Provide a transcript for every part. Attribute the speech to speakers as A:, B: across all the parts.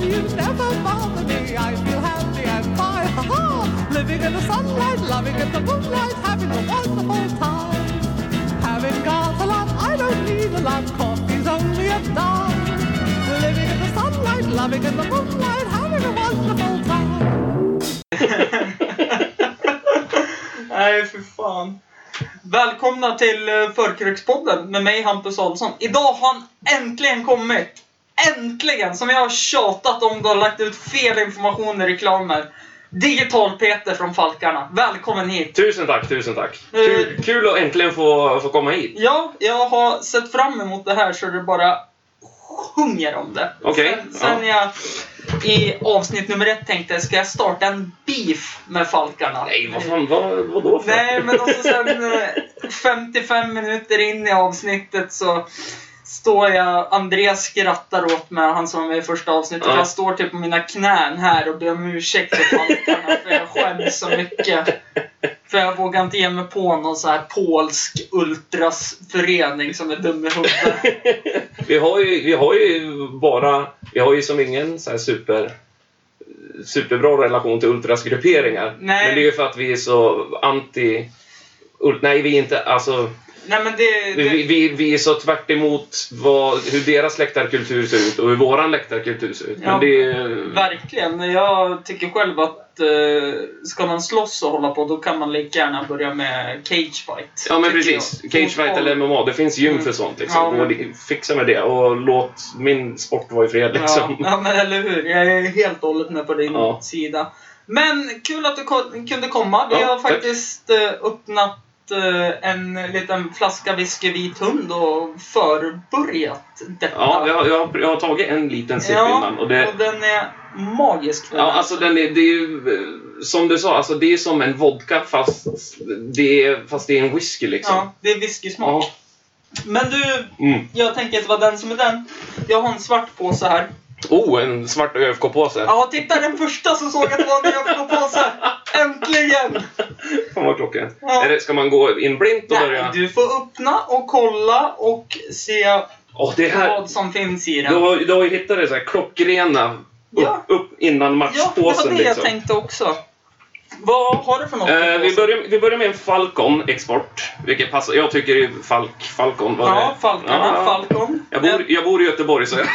A: dreams never bother me. I feel happy and fine. Ha ha! Living in the sunlight, loving in the moonlight, having a wonderful time. Having got a lot, I don't need a lot. Coffee's only a dime. Living in the sunlight, loving in the moonlight, having a wonderful time.
B: Nej, för fan. Välkomna till eh, Förkrökspodden med mig, Hampus Adolfsson. Idag har han äntligen kommit! Äntligen! Som jag har tjatat om, du har lagt ut fel information i reklamer. Digital-Peter från Falkarna. Välkommen hit!
C: Tusen tack, tusen tack.
B: Mm.
C: Kul, kul att äntligen få, få komma hit.
B: Ja, jag har sett fram emot det här så det bara sjunger om det.
C: Okej,
B: Sen, sen jag i avsnitt nummer ett tänkte, ska jag starta en beef med Falkarna?
C: Nej, vad fan, vad, vad då för?
B: Nej, men också sen eh, 55 minuter in i avsnittet så står jag, Andreas skrattar åt mig, han som var med i första avsnittet.
C: Ja.
B: Jag står typ på mina knän här och ber om ursäkt till tankarna för jag skäms så mycket. För jag vågar inte ge mig på någon så här polsk ultrasförening som är dum i huvudet.
C: Vi har ju, vi har ju bara, vi har ju som ingen så här super superbra relation till ultrasgrupperingar.
B: Nej.
C: Men det är ju för att vi är så anti... ul- Nej, vi är inte... Alltså,
B: Nej men det...
C: vi,
B: det
C: vi, vi är så tvärt emot vad, hur deras läktarkultur ser ut och hur våran läktarkultur ser ut.
B: Ja.
C: Men det är,
B: verkligen. Jag tycker själv att eh, ska man slåss och hålla på då kan man lika gärna börja med cagefight.
C: Ja men
B: tycker
C: precis.
B: jag. Mm.
C: Cage fight eller MMA. Det finns gym för sånt. Liksom.
B: Ja, men-
C: Och det- fixa med det och låt min sport vara i fred liksom.
B: Ja, ja, men eller hur. Jag är helt och hållet med på din
C: Ja.
B: sida. Men kul att du ko- kunde komma. Vi
C: Ja,
B: har
C: tack.
B: faktiskt eh, öppnat eh, en liten flaska whisky vit hund och förbörjat detta.
C: Ja, jag, har- jag, har- jag har tagit en liten sipp
B: Ja,
C: innan. Och det,
B: och den är magisk. den
C: ja,
B: här.
C: alltså, den är, det är ju eh, som du sa, alltså, det är som en vodka fast det är, fast det är en whisky liksom.
B: ja, det är whiskysmak.
C: Ja.
B: Men du,
C: Mm.
B: jag tänker inte vara den som är den. Jag har en svart påse här.
C: Oh, en svart ÖFK-påse.
B: Ja, titta den första som såg att det var en Diablo-påse! Äntligen!
C: Fan vad klockrent.
B: Ja.
C: Är det- Ska man gå in blint och
B: Nej,
C: börja?
B: du får öppna och kolla och se
C: Åh, det här,
B: vad som finns i
C: du,
B: den.
C: har, du har ju hittat det så här klockrena upp,
B: Ja.
C: upp innan
B: Ja, det var
C: matchpåsen
B: det jag
C: liksom.
B: tänkte också. Vad har du för något?
C: Eh, vi,
B: påse?
C: börjar, vi börjar med en Falcon Export, vilket passar. Jag tycker ju Falk, Falcon var
B: Ja,
C: det.
B: Falkarna,
C: Ja.
B: Falcon.
C: Jag bor, jag bor i Göteborg så jag...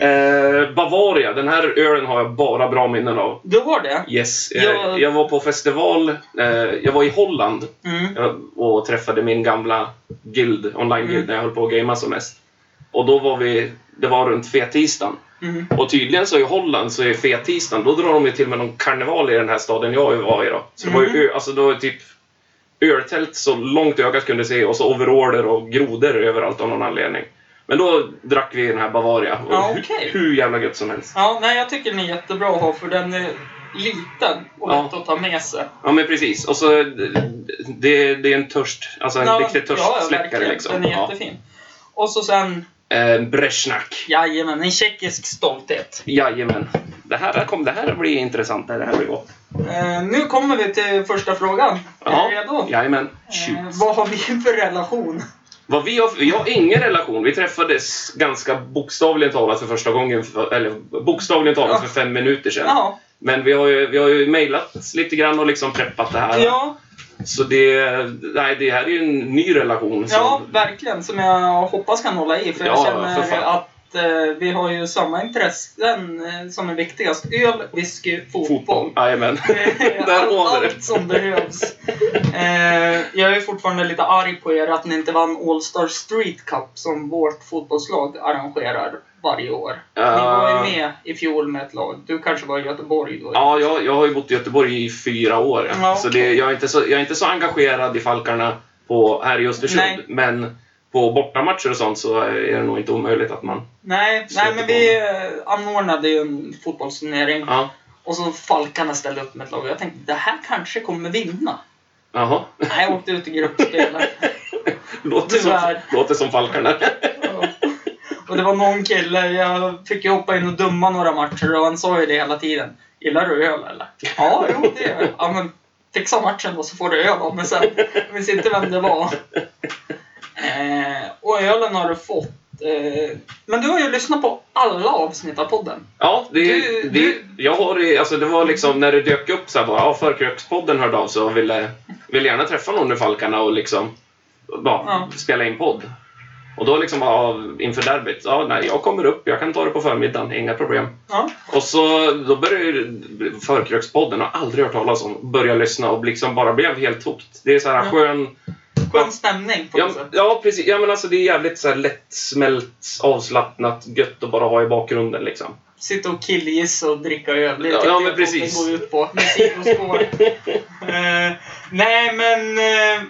C: eh, Bavaria, den här ölen har jag bara bra minnen av.
B: Du har det?
C: Yes. Eh,
B: Jag-
C: jag... var på festival, eh, jag var i Holland
B: Mm.
C: eh, och träffade min gamla guild, online-guild,
B: Mm.
C: när jag höll på att gamea som mest. Och då var vi, det var runt fettisdagen.
B: Mm.
C: Och tydligen så i Holland så är fettisdagen, då drar de ju till med någon karneval i den här staden jag var i då. Så det var
B: Mm.
C: ju ö, alltså det var ju typ öltält så långt ögat kunde se och så overaller och grodor överallt av någon anledning. Men då drack vi den här Bavaria. Och
B: Ja,
C: hu-
B: okej.
C: hur, jävla gött som helst.
B: Ja, nej, jag tycker den är jättebra att ha för den är liten och
C: Ja.
B: lätt att ta med sig.
C: Ja men precis. Och så det, det är en törst, alltså en
B: Ja,
C: riktig törstsläckare
B: verkligen.
C: liksom.
B: Den är jättefin. Och så sen,
C: Ja. Eh, Brezjnak.
B: jajamän, en tjeckisk stolthet.
C: Jajamän. Det här, kom, det här blir intressant. Det här blir gott.
B: Eh, nu kommer vi till första frågan. Är
C: Ja,
B: du redo?
C: Jajamän. Shoot.
B: Eh, vad har vi för relation?
C: Vad vi har, jag har ingen relation. Vi träffades ganska bokstavligen talat för första gången, för, eller bokstavligen talat för fem minuter sedan.
B: Ja,
C: Men vi har ju, vi har ju mejlat lite grann och liksom preppat det här.
B: ja,
C: Så det, nej, det här är ju en ny relation. Så,
B: ja, verkligen. Som jag hoppas kan hålla i. För jag
C: Ja,
B: känner
C: för fan.
B: att eh, vi har ju samma intressen eh, som är viktigast. Öl, whisky, fotboll.
C: fotboll. Jajamän.
B: Eh,
C: Där
B: allt-
C: har vi det.
B: Allt som behövs. Eh, jag är fortfarande lite arg på er att ni inte vann All Star Street Cup som vårt fotbollslag arrangerar varje år. Ni var ju med i fjol med ett lag. Du kanske var i Göteborg då?
C: Ja, jag, jag har ju bott i Göteborg i fyra år.
B: Ja,
C: Så
B: okej.
C: det, jag, är inte så, jag är inte så engagerad i Falkarna på, här i
B: Nej.
C: Östersund. Men på bortamatcher och sånt så är det nog inte omöjligt att man...
B: Nej, nej, men vi eh, anordnade ju en fotbollsturnering
C: Ja.
B: och så Falkarna ställde upp med ett lag och jag tänkte det här kanske kommer vinna.
C: Jaha.
B: Nej, jag åkte ut i gruppspelet.
C: Låter som,
B: Tyvärr.
C: låter som Falkarna.
B: Ja. Och det var någon kille, jag fick ju hoppa in och döma några matcher och han sa ju det hela tiden. Gillar du öl eller? Ja, jo det gör jag. Ja men fixa matchen då så får du öl av mig sen. Jag minns inte vem det var. Eh, och ölen har du fått. Eh, men du har ju lyssnat på alla avsnitt av podden.
C: Ja, det,
B: Du-
C: det,
B: du-
C: Jag har, ju- alltså det var liksom när det dök upp så här bara, ja, Förkrökspodden hörde av sig och ville, ville gärna träffa någon ur Falkarna och liksom bara,
B: Ja.
C: spela in podd. Och då liksom bara, inför derbyt, ja nej, jag kommer upp, jag kan ta det på förmiddagen, inga problem.
B: Ja.
C: Och så då började ju Förkrökspodden, har aldrig hört talas om, börja lyssna och liksom bara blev helt hooked. Det är så här
B: Ja.
C: skön
B: Skön stämning på
C: Ja,
B: något sätt.
C: ja, precis. Ja, men alltså, det är jävligt så här lättsmält, avslappnat, gött att bara ha i bakgrunden. Liksom.
B: Sitta och killgissa och dricka öl. Det är
C: Ja,
B: typ
C: ja,
B: det
C: men
B: podden
C: precis.
B: går ut på. Med sidospår. Eh, nej, men eh,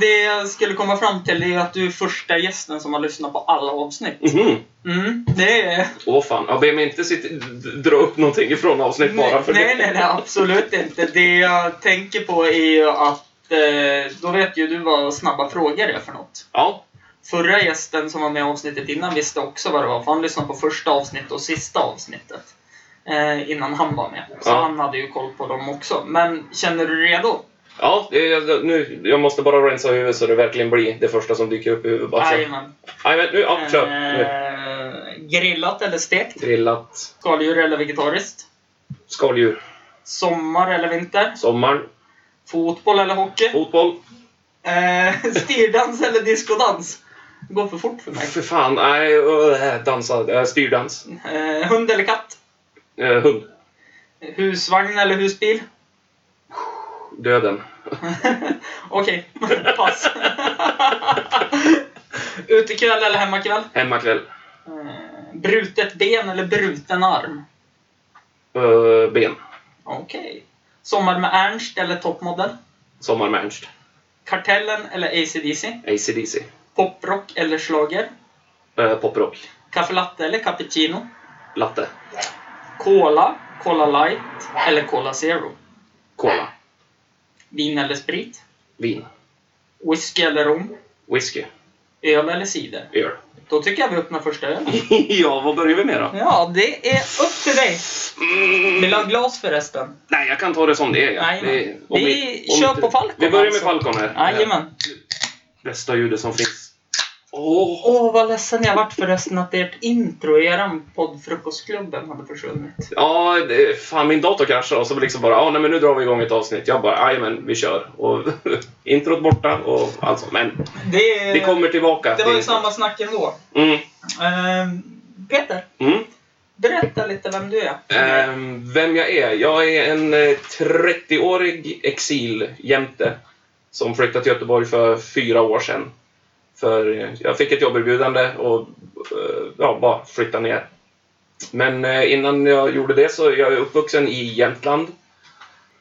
B: det jag skulle komma fram till är att du är första gästen som har lyssnat på alla avsnitt.
C: Mhm.
B: Mm, det är...
C: Åh fan, ja, be mig inte sitta, d- dra upp någonting ifrån avsnitt Typ bara för
B: nej,
C: det.
B: nej, nej, absolut inte. Det jag tänker på är ju att eh, då vet ju du vad snabba frågor är för något.
C: Ja,
B: Förra gästen som var med i avsnittet innan visste också vad det var, för han lyssnade på första avsnittet och sista avsnittet. Eh, innan han var med. Så
C: Ja.
B: han hade ju koll på dem också. Men känner du dig redo?
C: ja det, jag, nu, jag måste bara rensa huvudet så det verkligen blir det första som dyker upp i huvudet. Bara, så.
B: Jajamän.
C: Aj, men, nu, ja, kör. Nu.
B: Eh, grillat eller stekt?
C: Trillat.
B: Skaldjur eller vegetariskt?
C: Skaldjur.
B: Sommar eller vinter?
C: Sommar.
B: Fotboll eller hockey?
C: Fotboll.
B: Eh, styrdans eller diskodans? Det går för fort för
C: Nej,
B: mig.
C: för fan. Nej, öh, dansa. Äh, styrdans.
B: Eh, hund eller katt?
C: Äh, hund.
B: Husvagn eller husbil?
C: Döden.
B: Okej, pass. Utekväll eller hemmakväll?
C: Hemmakväll.
B: Eh, brutet ben eller bruten arm?
C: Äh, ben.
B: Okej. Sommar med Ernst eller toppmodell?
C: Sommar med Ernst.
B: Kartellen eller ACDC?
C: AC/DC.
B: Poprock eller schlager?
C: Äh, poprock.
B: Kaffe latte eller cappuccino?
C: Latte.
B: Cola, Cola light eller Cola zero?
C: Cola.
B: Vin eller sprit?
C: Vin.
B: Whisky eller rom?
C: Whisky.
B: Öl eller cider?
C: Öl.
B: Då tycker jag vi öppnar första ölen.
C: ja, vad börjar vi med då?
B: Ja, det är upp till dig.
C: Mm.
B: Vill du ha glas förresten?
C: Nej, jag kan ta det som det är. ja.
B: Nej,
C: Det-
B: men
C: om
B: vi kör på Falcon
C: Vi börjar med
B: alltså.
C: Falcon här. Eh,
B: Jajamän.
C: Bästa ljudet som finns. Åh!
B: Åh, vad ledsen jag vart förresten att ert intro i eran podd Frukostklubben hade försvunnit.
C: Ja, det, fan min dator kraschade och så liksom bara, ja nej men nu drar vi igång ett avsnitt. Jag bara, "Aj, men vi kör. Och introt borta och allt sånt. Men
B: Det,
C: det kommer tillbaka.
B: Eh, det var ju
C: är-
B: samma snack ändå.
C: Mm,
B: Ehm, Peter,
C: mm.
B: berätta lite vem du är.
C: Ehm, vem jag är? Jag är en eh, 30-årig exiljämte som flyttade till Göteborg för fyra år sedan. För eh, jag fick ett jobberbjudande och eh, ja, bara flyttade ner. Men eh, innan jag gjorde det så jag är uppvuxen i Jämtland.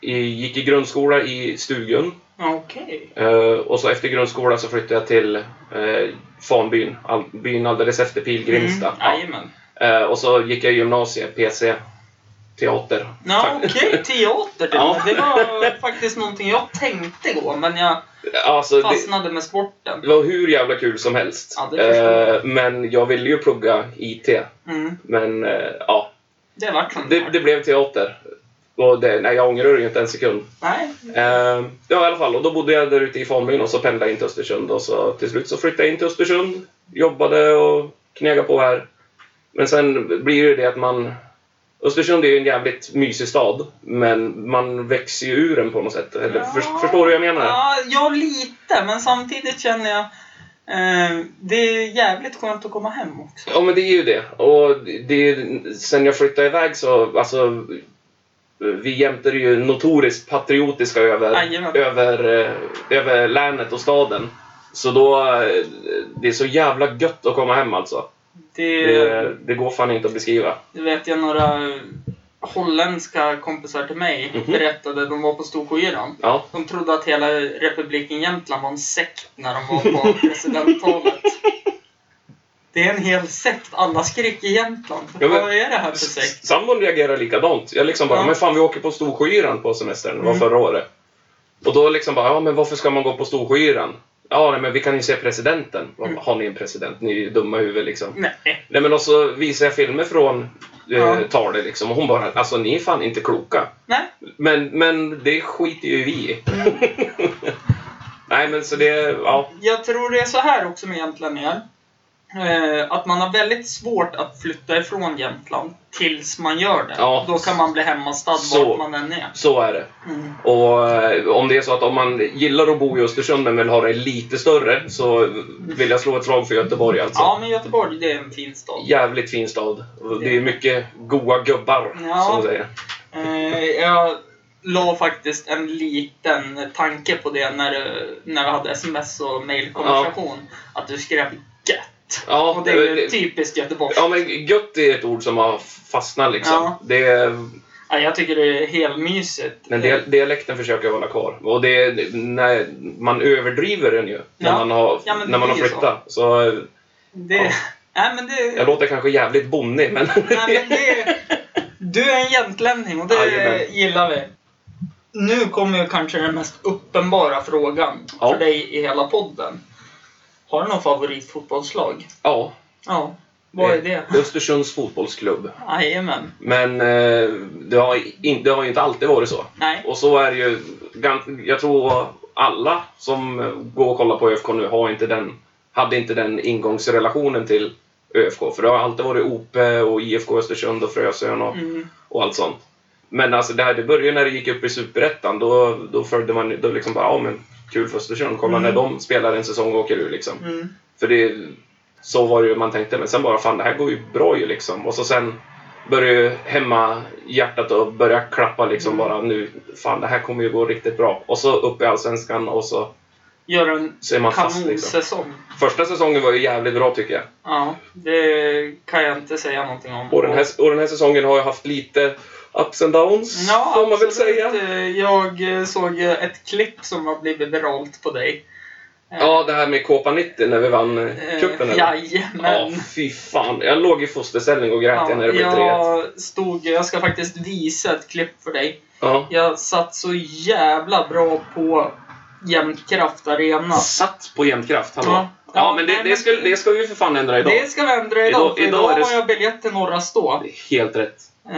C: I, gick i grundskola i Stugun.
B: Okej.
C: Eh, och så efter grundskolan så flyttade jag till eh, Fanbyn, all, byn alldeles efter Pilgrimstad.
B: Mm, Jajamän.
C: Eh, och så gick jag i gymnasiet, PC, teater.
B: Ja,
C: Fakt-
B: okej. Teater. du.
C: Ja.
B: Det var faktiskt någonting jag tänkte gå, men jag
C: Alltså, det,
B: fastnade med sporten.
C: det var hur jävla kul som helst.
B: Ja, det förstår
C: Eh, men jag ville ju plugga IT.
B: Mm,
C: Men eh, ja,
B: det vart som
C: det, det blev teater. Och det, nej, jag ångrar det ju inte en sekund.
B: Nej.
C: Eh, ja, i alla fall. Och då bodde jag där ute i Fanbyn och så pendlade jag in till Östersund. Och så till slut så flyttade jag in till Östersund. Jobbade och knegade på här. Men sen blir det ju det att man... Östersund är ju en jävligt mysig stad, men man växer ju ur den på något sätt. Eller,
B: Ja.
C: förs- förstår du vad jag menar?
B: Ja, ja, lite, men samtidigt känner jag eh, det är jävligt skönt att komma hem också.
C: Ja, men det är ju det. Och det är, sen jag flyttade iväg så, alltså, vi jämter är ju notoriskt patriotiska över,
B: Jajamän.
C: över, eh, över länet och staden. Så då, eh, det är så jävla gött att komma hem alltså.
B: Det,
C: Det, det går fan inte att beskriva.
B: det vet jag några holländska kompisar till mig
C: Mhm.
B: berättade. De var på Storsjöyran.
C: Ja,
B: De trodde att hela republiken Jämtland var en sekt när de var på presidenttalet. Det är en hel sekt. Alla skrek i Jämtland.
C: Ja, men-
B: Vad är det här för sekt?
C: sambon reagerar likadant. Jag liksom bara,
B: Ja.
C: men fan vi åker på Storsjöyran på semestern, det var
B: Mm.
C: förra året. Och då liksom bara, ja men varför ska man gå på Storsjöyran? Ja, nej, men vi kan ju se presidenten. Vad-
B: Mm.
C: Har ni en president? Ni är ju dumma i huvudet liksom.
B: Nej.
C: Nej men och så visar jag filmer från eh,
B: Ja.
C: Tale liksom och hon bara alltså ni är fan inte kloka.
B: Nej. Mm.
C: Men, men det skiter ju vi i. Nej men så det, ja.
B: Jag tror det är så här också med jämtlänningar. eh, att man har väldigt svårt att flytta ifrån Jämtland tills man gör det.
C: Ja.
B: Då kan man bli hemmastad
C: Så.
B: vart man än är.
C: Så är det.
B: Mm.
C: Och eh, om det är så att om man gillar att bo i Östersund men vill ha det lite större så vill jag slå ett slag för Göteborg alltså.
B: Ja, men Göteborg det är en fin stad.
C: Jävligt fin stad. Och Det är mycket goa gubbar,
B: Ja.
C: som de säger.
B: Eh, jag la faktiskt en liten tanke på det när, du- när vi hade sms och mailkonversation. Att du skrev gött.
C: Ja,
B: Och det är ju
C: det-
B: typiskt Göteborg.
C: ja, men gött är ett ord som har fastnat liksom.
B: Ja.
C: Det är,
B: Ja, jag tycker det är helt mysigt.
C: men dia- dialekten försöker jag hålla kvar. Och det är, när man överdriver den ju när
B: Ja.
C: man har,
B: Ja, men
C: när man
B: det
C: har
B: är ju
C: flyttat. Så. Så,
B: det,
C: ja.
B: nej, men det,
C: jag låter kanske jävligt bonnig men...
B: nej, men det Du är en jämtlänning och det
C: Jajamän.
B: gillar vi. Nu kommer ju kanske den mest uppenbara frågan
C: Ja.
B: för dig i hela podden. Har du någon favoritfotbollslag?
C: ja. Eh,
B: Ja. Vad är det?
C: Östersunds fotbollsklubb.
B: Jajamän.
C: Men eh, det har, in, det har ju inte alltid varit så.
B: Nej.
C: Och så är det ju, gan- jag tror alla som går och kollar på ÖFK nu har inte den, hade inte den ingångsrelationen till ÖFK. För det har alltid varit Ope och IFK Östersund och Frösön och,
B: Mm.
C: och allt sånt. Men alltså det här, det började ju när det gick upp i Superettan. Då, då följde man ju- då liksom bara, ja men kul för Östersund. Kolla när de spelar en säsong och åker ur liksom.
B: Mm.
C: För det, så var det ju man tänkte. Men sen bara, fan det här går ju bra ju liksom. Och så sen började ju hemma hjärtat och börja klappa liksom
B: Mm.
C: bara nu. Fan det här kommer ju gå riktigt bra. Och så upp i Allsvenskan och så,
B: Gör en
C: så är man fast liksom.
B: kanonsäsong.
C: Första säsongen var ju jävligt bra tycker jag.
B: Ja, det kan jag inte säga någonting om.
C: Och den här, och den här säsongen har jag haft lite ups and downs,
B: Ja,
C: får man väl
B: absolut.
C: säga.
B: Eh, Jag eh, såg eh, ett klipp som har blivit viralt på dig.
C: Ja, det här med Kåpa 90 när vi vann eh,
B: Eh,
C: cupen. eller? Ja,
B: Jajamän.
C: fy fan. Jag låg i fosterställning och grät när det blev 3-1.
B: jag stod, jag ska faktiskt visa ett klipp för dig.
C: Ja.
B: Jag satt så jävla bra på Jämtkraft Arena.
C: Satt på jämnkraft, hallå?
B: Ja.
C: Ja, men det, det, ska, det ska vi ju för fan ändra idag.
B: Det ska vi ändra idag,
C: Idag-
B: för idag,
C: idag är det-
B: har jag biljett till Norra Stå.
C: Helt rätt.
B: Eh,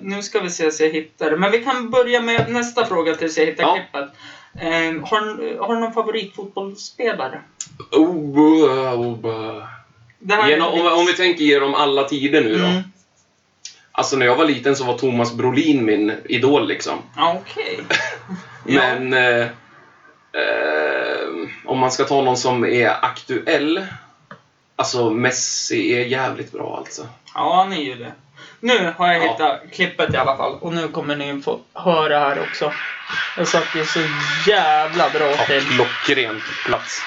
B: nu ska vi se så jag hittar det. Men vi kan börja med nästa fråga tills jag hittar
C: Ja.
B: klippet. Eh, har, har du någon fotbollsspelare?
C: Oh, oh, oh, oh.
B: Det här är
C: Genom, om, om vi tänker genom alla tider nu då.
B: Mm.
C: Alltså när jag var liten så var Thomas Brolin min idol liksom.
B: Ja, Okej. Ja.
C: Men eh, eh, om man ska ta någon som är aktuell. Alltså Messi är jävligt bra alltså.
B: Ja, han är ju det. Nu har jag
C: Ja.
B: hittat klippet i alla fall. Och nu kommer ni få höra här också. Jag satt ju så jävla bra
C: Ja,
B: till.
C: klockren plats.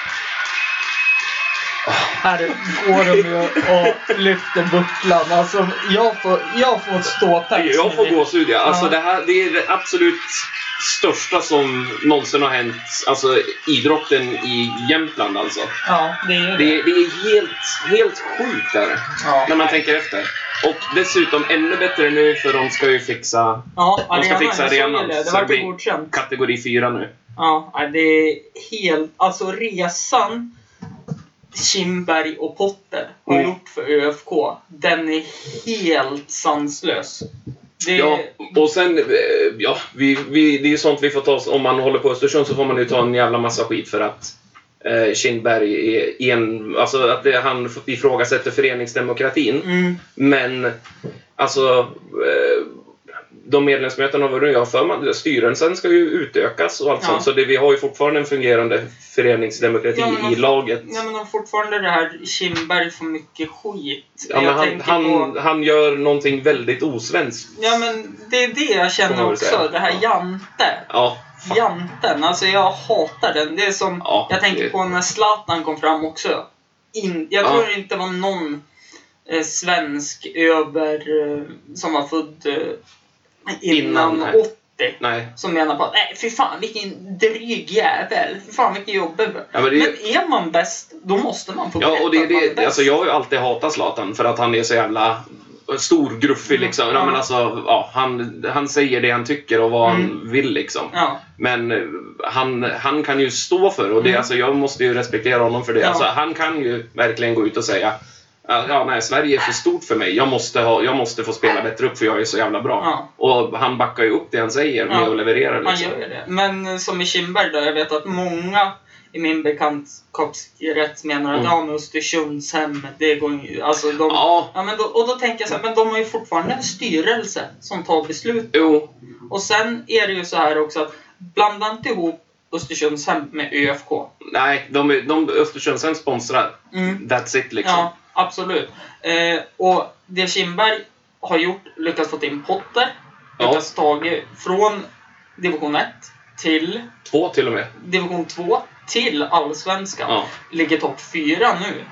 B: Här går de ju och lyfter bucklan. Alltså, jag får, jag får ståpäls.
C: Jag får gåshud ja. Alltså
B: Ja.
C: det här det är det absolut största som någonsin har hänt. Alltså idrotten i Jämtland alltså.
B: Ja, det är ju det.
C: Det, det är helt, helt sjukt där.
B: Ja.
C: När man tänker efter. Och dessutom ännu bättre nu för de ska ju fixa
B: Ja,
C: De ska
B: arenan,
C: fixa
B: jag såg ju
C: arenan,
B: Det, det
C: så
B: vart
C: det
B: ju
C: blir-
B: godkänt.
C: kategori 4 nu.
B: Ja, nej, det är helt... Alltså resan Kindberg och Potter har
C: Mm.
B: gjort för ÖFK, den är helt sanslös. Det,
C: Ja, och sen, eh, ja, vi, vi, det är ju sånt vi får ta, om man håller på Östersund så får man ju ta en jävla massa skit för att eh, Kindberg är en, alltså att det, han ifrågasätter föreningsdemokratin.
B: Mm,
C: Men alltså eh, de medlemsmöten har varit nu, jag har för mig, styrelsen ska ju utökas och allt
B: Ja.
C: sånt. Så det, vi har ju fortfarande en fungerande föreningsdemokrati
B: Ja, men-
C: i laget.
B: nej, men de fortfarande det här Kindberg får mycket skit.
C: Ja, men
B: jag
C: han,
B: tänker
C: han,
B: på...
C: han gör någonting väldigt osvenskt.
B: Ja, men det är det jag
C: Får man
B: känner
C: väl
B: också.
C: säga.
B: Det här Jante.
C: Ja, fan.
B: Janten, alltså jag hatar den. Det är som,
C: Ja,
B: jag tänker
C: det-
B: på när Zlatan kom fram också. In, jag
C: Ja.
B: tror det inte var någon eh, svensk över eh, som var född eh, innan,
C: Innan, nej.
B: 80
C: Nej.
B: som menar på att nej fy fan vilken dryg jävel. Fy fan vilken jobbig.
C: Ja, men
B: men,
C: det-
B: är man bäst, då måste man få
C: Ja, och det,
B: att man är
C: det,
B: bäst.
C: alltså, jag har ju alltid hatat Zlatan för att han är så jävla stor, gruffig liksom. Ja,
B: Mm. Ja.
C: men alltså, ja, han, han säger det han tycker och vad han
B: Mm.
C: vill liksom.
B: ja.
C: Men eh, han, han kan ju stå för och det,
B: Mm.
C: alltså, jag måste ju respektera honom för det.
B: Ja.
C: Alltså, han kan ju verkligen gå ut och säga "Ja, Ja, nej, Sverige är för stort för mig. Jag måste, ha, jag måste få spela bättre upp för jag är så jävla bra.
B: Ja.
C: Och han backar ju upp det han säger med
B: Ja.
C: att leverera.
B: Man
C: Liksom.
B: gör ju det. Men eh, som i Kindberg då, jag vet att många i min bekantskapskrets menar att
C: Mm.
B: ja, men Östersundshem, det går ju... Alltså de, ja.
C: Ja,
B: men då, och då tänker jag så här, men de har ju fortfarande en styrelse som tar beslut.
C: jo.
B: Och sen är det ju så här också att blanda inte ihop Östersundshem med ÖFK.
C: Nej, de, är- de Östersundshem sponsrar. That's it liksom.
B: Mm. Ja, absolut. Eh, och det Kindberg har gjort, lyckats få in Potter,
C: Ja.
B: lyckats ta från division 1 till
C: Två till och med.
B: division 2 till allsvenskan.
C: Ja.
B: Ligger topp 4 nu.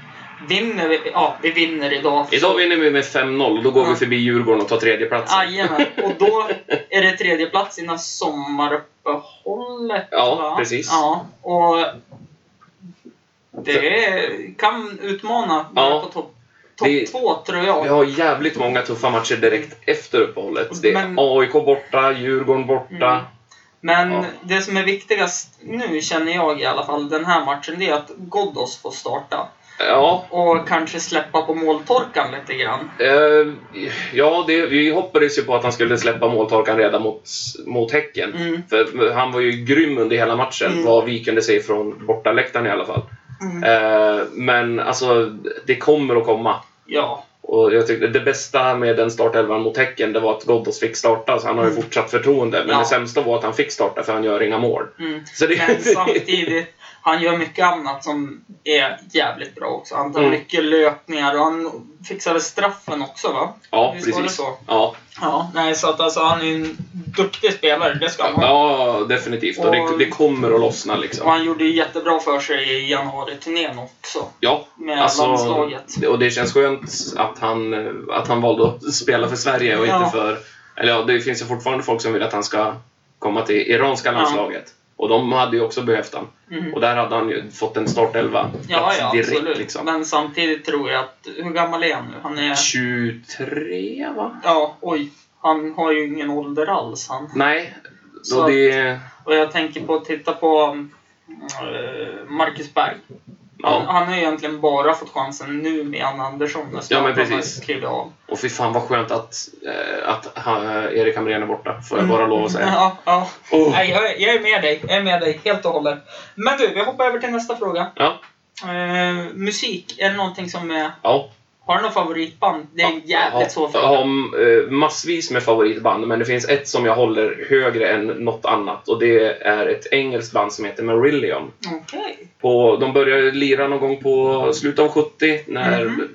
B: Vinner vi, ja, vi vinner idag.
C: Idag vinner vi med 5-0 och då går
B: Ja.
C: vi förbi Djurgården och tar tredjeplatsen.
B: Jajamän, och då är det tredje plats innan sommaruppehållet.
C: Ja, precis.
B: Ja, och det är- kan utmana
C: Ja.
B: på topp top
C: Vi-
B: två, tror jag.
C: Vi har jävligt många tuffa matcher direkt efter uppehållet. Det är
B: Men-
C: AIK borta, Djurgården borta.
B: Mm. Men
C: Ja.
B: det som är viktigast nu, känner jag i alla fall, den här matchen, det är att Ghoddos får starta.
C: Ja,
B: Och kanske släppa på måltorkan lite grann.
C: eh, ja det, vi hoppades ju på att han skulle släppa måltorkan redan mot, mot Häcken.
B: Mm.
C: För han var ju grym under hela matchen,
B: Mm.
C: vad vi kunde se från bortaläktaren i alla fall. Eh, men alltså, det kommer att komma.
B: Ja.
C: Och jag tyckte det bästa med den startelvan mot Häcken det var att Ghoddos fick starta, så han har ju
B: Mm.
C: fortsatt förtroende. Men
B: Ja.
C: det sämsta var att han fick starta, för han gör inga mål.
B: Mm.
C: Så det,
B: Men samtidigt, han gör mycket annat som är jävligt bra också. Han tar
C: Mm.
B: mycket löpningar och han fixade straffen också va?
C: ja,
B: Visst var det
C: precis.
B: så?
C: Ja,
B: Ja, nej så att alltså han är en duktig spelare, det ska han ha.
C: ja, definitivt. Och det,
B: Och-
C: det kommer att lossna
B: Och
C: liksom.
B: han gjorde ju jättebra för sig i januari-turnén också.
C: Ja,
B: Med
C: alltså,
B: landslaget.
C: och det känns skönt att han, att han valde att spela för Sverige och
B: Ja.
C: inte för... Eller ja, det finns ju fortfarande folk som vill att han ska komma till iranska
B: Ja.
C: landslaget. Och de hade ju också behövt han.
B: Mm.
C: Och där hade han ju fått en startelva
B: Ja,
C: plats
B: ja,
C: direkt
B: absolut.
C: liksom.
B: Men samtidigt tror jag att, hur gammal är han nu? Han är,
C: 23 va?
B: ja, oj. Han har ju ingen ålder alls han.
C: Nej,
B: Så-
C: då det...
B: Och jag tänker på att titta på mm, eh, Marcus Berg. Han,
C: Ja.
B: han har ju egentligen bara fått chansen nu med Anna Andersson när
C: Ja, men
B: Zlatan har
C: precis.
B: klivit av.
C: Och fy fan vad skönt att, eh, att han, Erik Hamrén är borta, får jag bara lov att säga.
B: Mm. Ja, ja.
C: Oh.
B: Nej, jag, är- jag är med dig. Jag är med dig helt och hållet. Men du, vi hoppar över till nästa fråga.
C: Ja.
B: Eh, musik, är det någonting som är...
C: Ja.
B: Har du något favoritband? Det är en jävligt svår
C: Jag
B: fråga.
C: har eh, massvis med favoritband, men det finns ett som jag håller högre än något annat. Och det är ett engelskt band som heter Marillion.
B: Okej.
C: På, de började lira någon gång på slutet av 70, när,
B: Mhm.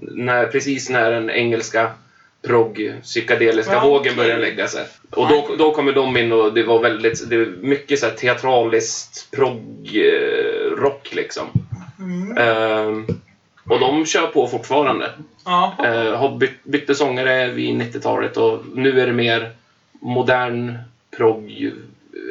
C: när, precis när den engelska prog psykedeliska
B: Ja, okej.
C: vågen började lägga sig. Och då,
B: Nej.
C: då kommer de in och det var väldigt, det var mycket så här teatraliskt prog eh, rock liksom.
B: Mm.
C: Ehm, och de kör på fortfarande.
B: Ja.
C: Eh, har bytt, bytte sångare vid 90-talet och nu är det mer modern prog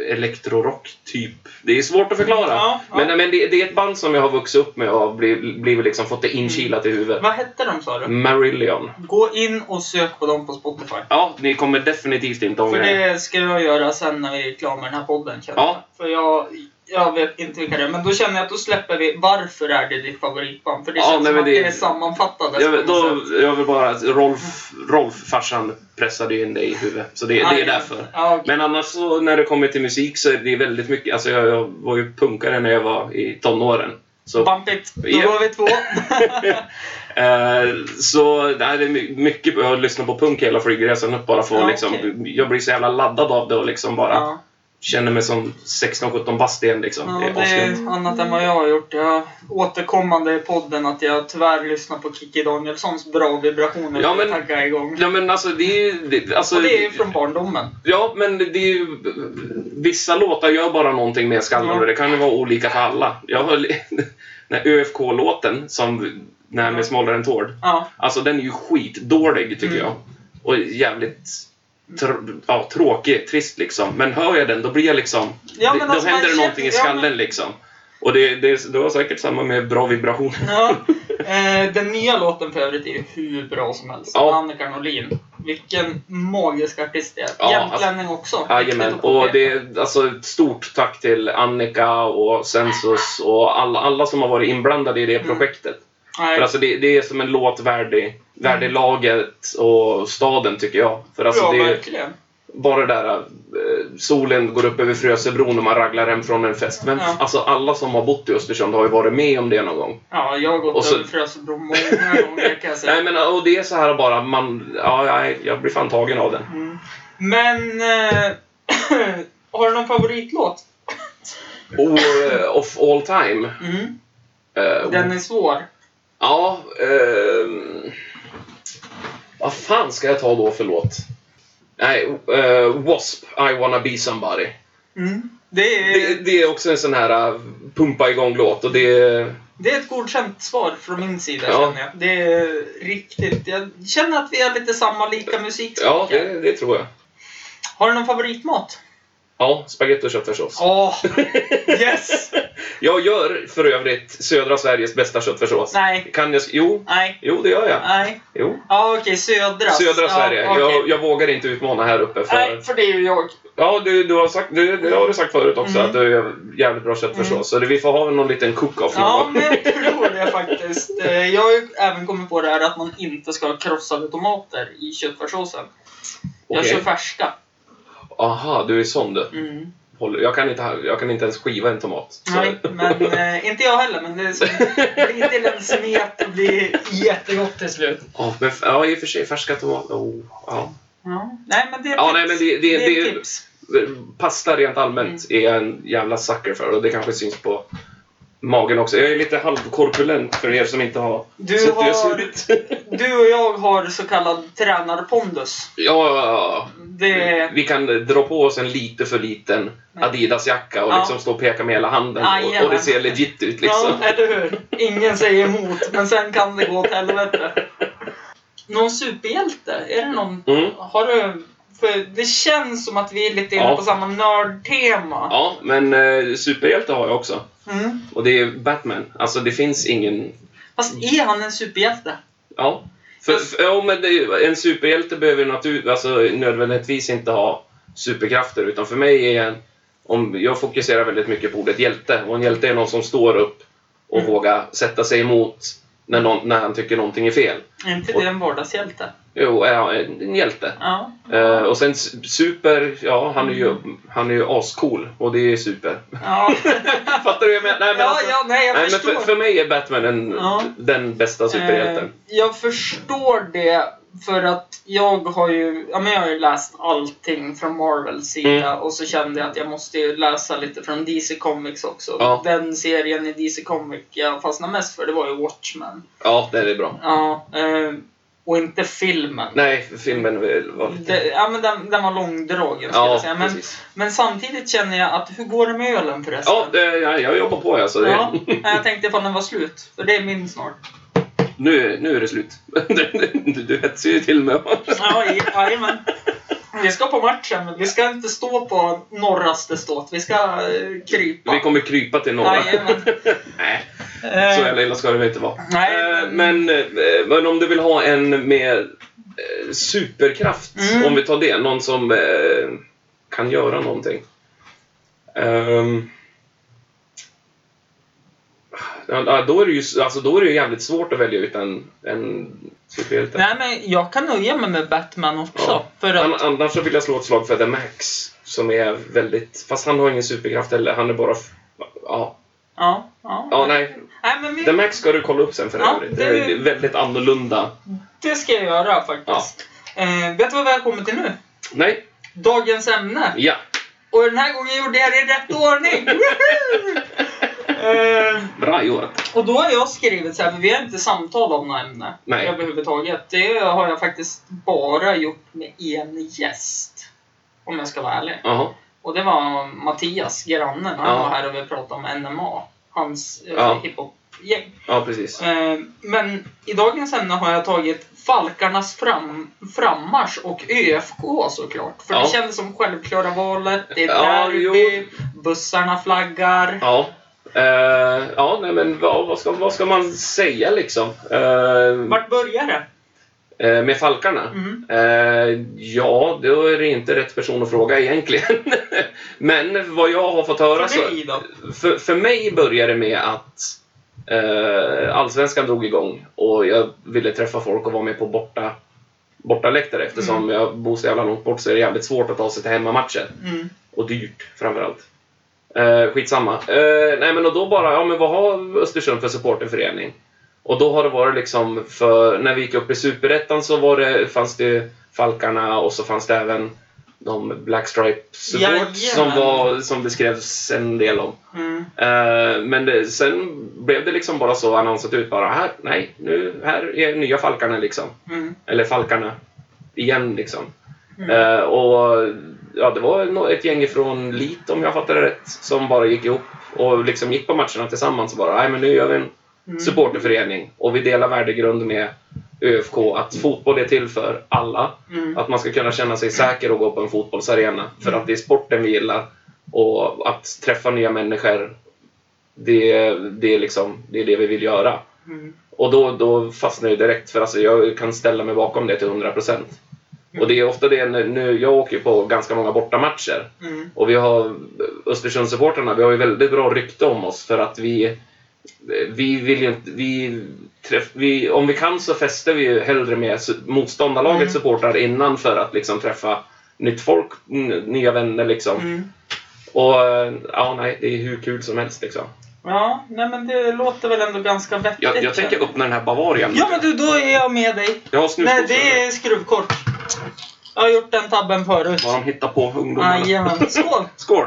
C: elektrorock typ. Det är svårt att förklara.
B: Ja, ja.
C: Men, men det, det är ett band som jag har vuxit upp med och har blivit, blivit liksom fått det inkilat i huvudet.
B: Vad hette de sa
C: Mm.
B: du?
C: Marillion.
B: Gå in och sök på dem på Spotify.
C: Ja, ni kommer definitivt inte
B: För
C: ångra er.
B: det ska jag göra sen när vi är klara med den här podden. känner
C: Ja.
B: jag. För jag, jag vet inte vilka det är. Men då känner jag att då släpper vi varför är det ditt favoritband. För det
C: Ja,
B: känns
C: nej,
B: som
C: men
B: att det
C: det-
B: är sammanfattande.
C: Jag,
B: på
C: vill-
B: något
C: då,
B: sätt.
C: jag vill bara att Rolf, Rolf, farsan, pressade ju in dig i huvudet. Så det,
B: Ja,
C: det är
B: ja.
C: därför.
B: Ja, okej.
C: Men annars så, när det kommer till musik så är det väldigt mycket, alltså jag, jag var ju punkare när jag var i tonåren. Så,
B: Bumpigt. Då
C: Ja.
B: var vi två.
C: eh, så nej, det är my- mycket, jag lyssnar på punk hela flygresan upp bara för att
B: Ja,
C: liksom,
B: okej.
C: jag blir så jävla laddad av det och liksom bara
B: ja.
C: känner mig som 16-17 bast igen liksom.
B: Ja,
C: det är
B: det
C: asgrymt.
B: är annat än vad jag har gjort. Jag återkommande i podden att jag tyvärr lyssnar på Kikki Danielssons bra vibrationer
C: Ja,
B: för att
C: men-
B: tagga igång.
C: Ja men alltså det är ju... det- Alltså,
B: Och det är ju från barndomen.
C: Ja, men det är ju... Vissa låtar gör bara någonting med skallen
B: Ja.
C: och det kan ju vara olika för alla. Jag höll... Den här ÖFK-låten, som... Den
B: Ja.
C: här med smalare än tård.
B: Ja.
C: Alltså den är ju skitdålig, tycker
B: Mm.
C: jag. Och jävligt... Tr- ja, tråkig, trist liksom. Men hör jag den, då blir jag liksom...
B: Ja, men
C: det,
B: alltså,
C: då händer
B: man
C: det någonting i
B: känner- ja, men-
C: skallen liksom. Och det, det, det var säkert samma med bra vibration.
B: Ja. Eh, den nya låten för övrigt är ju hur bra som helst.
C: Ja.
B: Annika Norlin. Vilken magisk artist det är.
C: Ja, alltså,
B: Jämtlänning också.
C: Jajamän,
B: Viktigt att
C: och
B: påpeka.
C: det är alltså ett stort tack till Annika och Sensus och alla, alla som har varit inblandade i
B: Mm.
C: det projektet.
B: Nej,
C: För alltså det, det är som en låt värdig, värdig laget och staden tycker jag. För alltså
B: Mm. ja,
C: det är
B: verkligen.
C: bara det där eh, solen går upp över Frösebron och man raglar hem från en fest. Men
B: Ja.
C: alltså alla som har bott i Östersund har ju varit med om det någon gång.
B: Ja, jag har
C: Och
B: gått
C: så-
B: över Frösebron många gånger kan jag säga.
C: Nej men och det är så här bara man, ja, nej, jag blir fan tagen av den.
B: Mm. Men... Eh, har du någon favoritlåt?
C: Och eh, of all time.
B: Mm.
C: eh,
B: Den är svår.
C: Ja, ehm... Vad fan ska jag ta då för låt? Nej, eh, W.A.S.P. I wanna be somebody.
B: Mm. Det, är,
C: Det,
B: det...
C: det är också en sån här eh, pumpa igång-låt och det är...
B: är ett godkänt svar från min sida
C: Ja.
B: känner jag. Det är riktigt. Jag känner att vi har lite samma, lika musiksmak
C: Ja,
B: här.
C: det, det tror jag.
B: Har du någon favoritmat?
C: Ja, spagetti och köttfärssås.
B: Åh! yes!
C: Jag gör för övrigt södra Sveriges bästa köttfärssås.
B: Nej.
C: Kan jag... sk- Jo,
B: Nej.
C: jo det gör jag.
B: Nej.
C: Jo.
B: Ja, okej. Södra.
C: Södra
B: ja,
C: Sverige.
B: okej.
C: Jag, jag vågar inte utmana här uppe
B: Nej,
C: för...
B: för det är ju jag.
C: Ja, du, du har sagt, du, det har du sagt förut också
B: Mm.
C: att du är jävligt bra köttfärssås. Så det, vi får ha någon liten cook-off någon
B: Ja,
C: gång.
B: men jag tror det faktiskt. Eh, Jag har ju även kommit på det här att man inte ska ha krossade tomater i köttfärssåsen. Jag
C: Okej.
B: kör färska.
C: Aha, du är sån du.
B: Mm.
C: Håller- Jag kan inte, ha- jag kan inte ens skiva en tomat. Så-
B: Nej, men eh, inte jag heller. Men det är som, blir till en smet och blir jättegott till slut.
C: Ja, men, f- ja, i och för sig, färska tomater. Oh, ja.
B: Ja. Nej, men det är
C: Ja,
B: tips.
C: nej, men det- det-
B: är
C: det-
B: tips.
C: Pasta rent allmänt
B: Mm.
C: är jag en jävla sucker för och det kanske syns på magen också. Jag är lite halvkorpulent för er som inte har
B: Du
C: sett hur
B: har-
C: jag ser ut.
B: Du och jag har så kallad tränarpondus.
C: ja, ja,
B: Det
C: ja.
B: är...
C: Vi kan dra på oss en lite för liten Adidas-jacka och
B: Ja.
C: liksom stå och peka med hela handen och, och det
B: Jajamän.
C: ser legit ut liksom.
B: Ja, eller hur? Ingen säger emot, men sen kan det gå åt helvete. Någon superhjälte? Är det någon?
C: Mm.
B: Har du... För det känns som att vi är lite inne
C: Ja.
B: på samma nördtema.
C: Ja, men eh, superhjälte har jag också.
B: Mm.
C: Och det är Batman. Alltså det finns ingen
B: Fast
C: Mm.
B: är han en superhjälte?
C: Ja. För, för, ja, men det, är ju- en superhjälte behöver ju natur, alltså, nödvändigtvis inte ha superkrafter. Utan för mig är en... Om, jag fokuserar väldigt mycket på ordet hjälte. Och en hjälte är någon som står upp och
B: Mm.
C: vågar sätta sig emot när, någon, när han tycker någonting är fel.
B: Är inte det en vardagshjälte?
C: Jo, ja, en, en hjälte.
B: Ja.
C: Eh, och sen s- super, ja han är ju, han är ju ascool. Och det är super.
B: Ja,
C: Fattar du vad jag menar? Nej, men,
B: ja,
C: alltså,
B: ja nej, jag
C: nej, men
B: förstår.
C: för, för mig är Batman en,
B: Ja.
C: den bästa superhjälten.
B: Eh, jag förstår det för att jag har ju, ja, men jag har ju läst allting från Marvels sida
C: Mm.
B: och så kände jag att jag måste ju läsa lite från DC Comics också.
C: Ja.
B: Den serien i DC Comics jag fastnade mest för det var ju Watchmen.
C: Ja, det är bra.
B: Ja, eh, och inte filmen.
C: Nej, filmen var lite...
B: Det, ja, men den, den var långdragen skulle jag
C: Ja,
B: säga. Men,
C: precis.
B: men samtidigt känner jag att hur går det med ölen förresten?
C: Ja, det, jag, jag jobbar på alltså. Det,
B: Ja, nej, jag tänkte ifall den var slut. För det är min snart.
C: nu, nu är det slut. Du, du hetsar ju till mig.
B: Ja, i- Jajamän. Vi ska på matchen, men vi ska inte stå på norraste ståt. Vi ska eh, krypa.
C: Vi kommer krypa till några.
B: Jajamän.
C: Nej,
B: Eh,
C: så jävla illa ska det väl inte vara.
B: Nej,
C: Eh, men, eh, men om du vill ha en med eh, superkraft,
B: Mm.
C: om vi tar det. Någon som eh, kan göra någonting. Ehm. Ja, ja, då, är det ju, alltså, då är det ju jävligt svårt att välja ut en, en superhjälte.
B: Nej, men jag kan nöja mig med Batman också.
C: Ja.
B: För
C: An-
B: att,
C: annars så vill jag slå ett slag för The Max. Som är väldigt... Fast han har ingen superkraft heller. Han är bara... F- ja.
B: ja, ja.
C: ja, nej.
B: Nej, men vi,
C: The Max ska du kolla upp sen för
B: Ja,
C: övrigt.
B: det-
C: Det är väldigt annorlunda.
B: det ska jag göra faktiskt. Eh, vet du vad vi har kommit till nu?
C: Nej.
B: Dagens ämne.
C: Ja.
B: Och den här gången gjorde jag det i rätt ordning. Woohoo! eh,
C: Bra jobbat.
B: Och då har jag skrivit så här, för vi har inte samtalat om något ämne
C: Nej.
B: överhuvudtaget. Det har jag faktiskt bara gjort med en gäst. Om jag ska vara ärlig.
C: Jaha.
B: Och det var Mattias, grannen. Han
C: Ja.
B: var här och vi pratade om NMA. Hans eh,
C: Ja.
B: hiphop-gäng.
C: Ja, precis.
B: Eh, men i dagens ämne har jag tagit Falkarnas fram, frammarsch och ÖFK såklart. För
C: Ja.
B: det kändes som självklara valet. Det är
C: Ja,
B: derby, bussarna flaggar.
C: Ja. Eh, ja, nej men vad, vad, ska, vad ska man säga liksom? Eh,
B: Vart börjar det?
C: eh, med Falkarna?
B: Mm.
C: Eh, ja, då är det inte rätt person att fråga egentligen. men vad jag har fått höra så...
B: För dig då?
C: för, för mig började det med att eh, Allsvenskan drog igång och jag ville träffa folk och vara med på borta bortaläktare eftersom jag bor så jävla långt bort så är det jävligt svårt att ta sig till hemmamatcher.
B: Mm.
C: Och dyrt framförallt. Eh, skitsamma. Eh, nej men och då bara, ja men vad har Östersund för supporterförening? Och då har det varit liksom, för när vi gick upp i Superettan så var det, fanns det Falkarna och så fanns det även de Black Stripe Support
B: Jajamän.
C: som, var, som det skrevs en del om.
B: Mm.
C: Eh, men det, sen blev det liksom bara så annonsat ut bara här, nej, nu, här är nya Falkarna liksom.
B: Mm.
C: Eller Falkarna. Igen liksom. Eh, och ja, det var nå- ett gäng från Lit om jag fattar det rätt, som bara gick ihop och liksom gick på matcherna tillsammans och bara nej men nu gör vi en
B: mm,
C: supporterförening och vi delar värdegrund med ÖFK att fotboll är till för alla.
B: Mm.
C: Att man ska kunna känna sig säker och gå på en fotbollsarena för att det är sporten vi gillar och att träffa nya människor det, det, är, liksom, det är det vi vill göra.
B: Mm.
C: Och då, då fastnar jag direkt för alltså jag kan ställa mig bakom det till 100 procent. Och det är ofta det när, nu, jag åker ju på ganska många bortamatcher
B: Mm.
C: och vi har Östersundssupportrarna, vi har ju väldigt bra rykte om oss för att vi vi vill ju inte, vi, träff, vi om vi kan så fäster vi ju hellre med su- motståndarlagets
B: Mm.
C: supportrar innan för att liksom träffa nytt folk, n- nya vänner liksom.
B: Mm.
C: Och eh, ja, nej, det är hur kul som helst liksom.
B: Ja, nej men det låter väl ändå ganska vettigt.
C: Jag, jag tänker öppna den här Bavarian.
B: Ja men du, då är jag med dig.
C: jag har snusdosor.
B: Nej, det är skruvkork. Jag har gjort den tabben förut.
C: Vad de hittar på ungdomarna.
B: Ah, Jajamän. Skål!
C: Skål!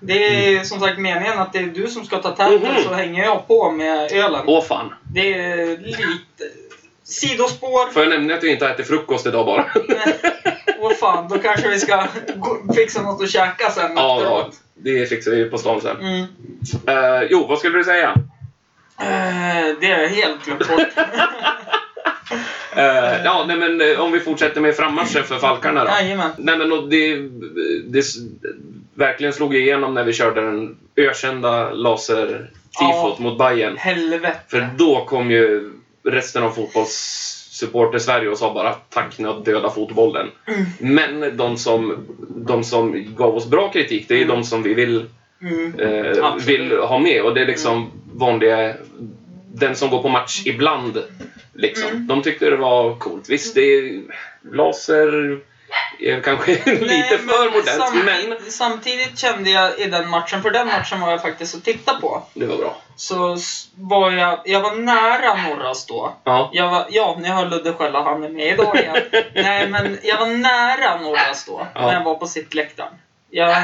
B: Det
C: Mm.
B: är som sagt meningen att det är du som ska ta täten
C: Mhm.
B: så hänger jag på med ölen.
C: Åh fan!
B: Det är lite... Sidospår.
C: Får jag nämna att jag inte äter frukost idag bara?
B: Åh fan, då kanske vi ska gå, fixa något att käka sen
C: ja, ja, det fixar vi på stan sen.
B: Mm.
C: Eh, jo, vad skulle du säga?
B: Eh, det är jag helt glömt bort.
C: Eh, ja, nej men eh, om vi fortsätter med frammarschen för Falkarna då.
B: Jajamän.
C: Nej men och det, det s- verkligen slog igenom när vi körde den ökända laser-tifot
B: Ja.
C: mot Bayern.
B: Helvete.
C: För då kom ju resten av fotbollssupporter Sverige och sa bara tack ni har döda fotbollen.
B: Mm.
C: Men de som, de som gav oss bra kritik, det är
B: Mm.
C: de som vi vill
B: Mm.
C: eh,
B: Absolut. Mm.
C: vill ha med. Och det är liksom vanliga... Den som går på match ibland. Liksom.
B: Mm.
C: De tyckte det var coolt. Visst, det är laser är kanske lite
B: Nej,
C: för
B: men
C: modernt,
B: samtidigt,
C: men
B: Samtidigt kände jag i den matchen, för den matchen var jag faktiskt och titta på,
C: det var bra.
B: så s- var jag, jag var nära Norras då.
C: Ja.
B: Jag var, ja, ni hör Ludde skälla, han är med idag igen. Nej, men jag var nära Norras då,
C: Ja.
B: när jag var på sittläktaren. Jag,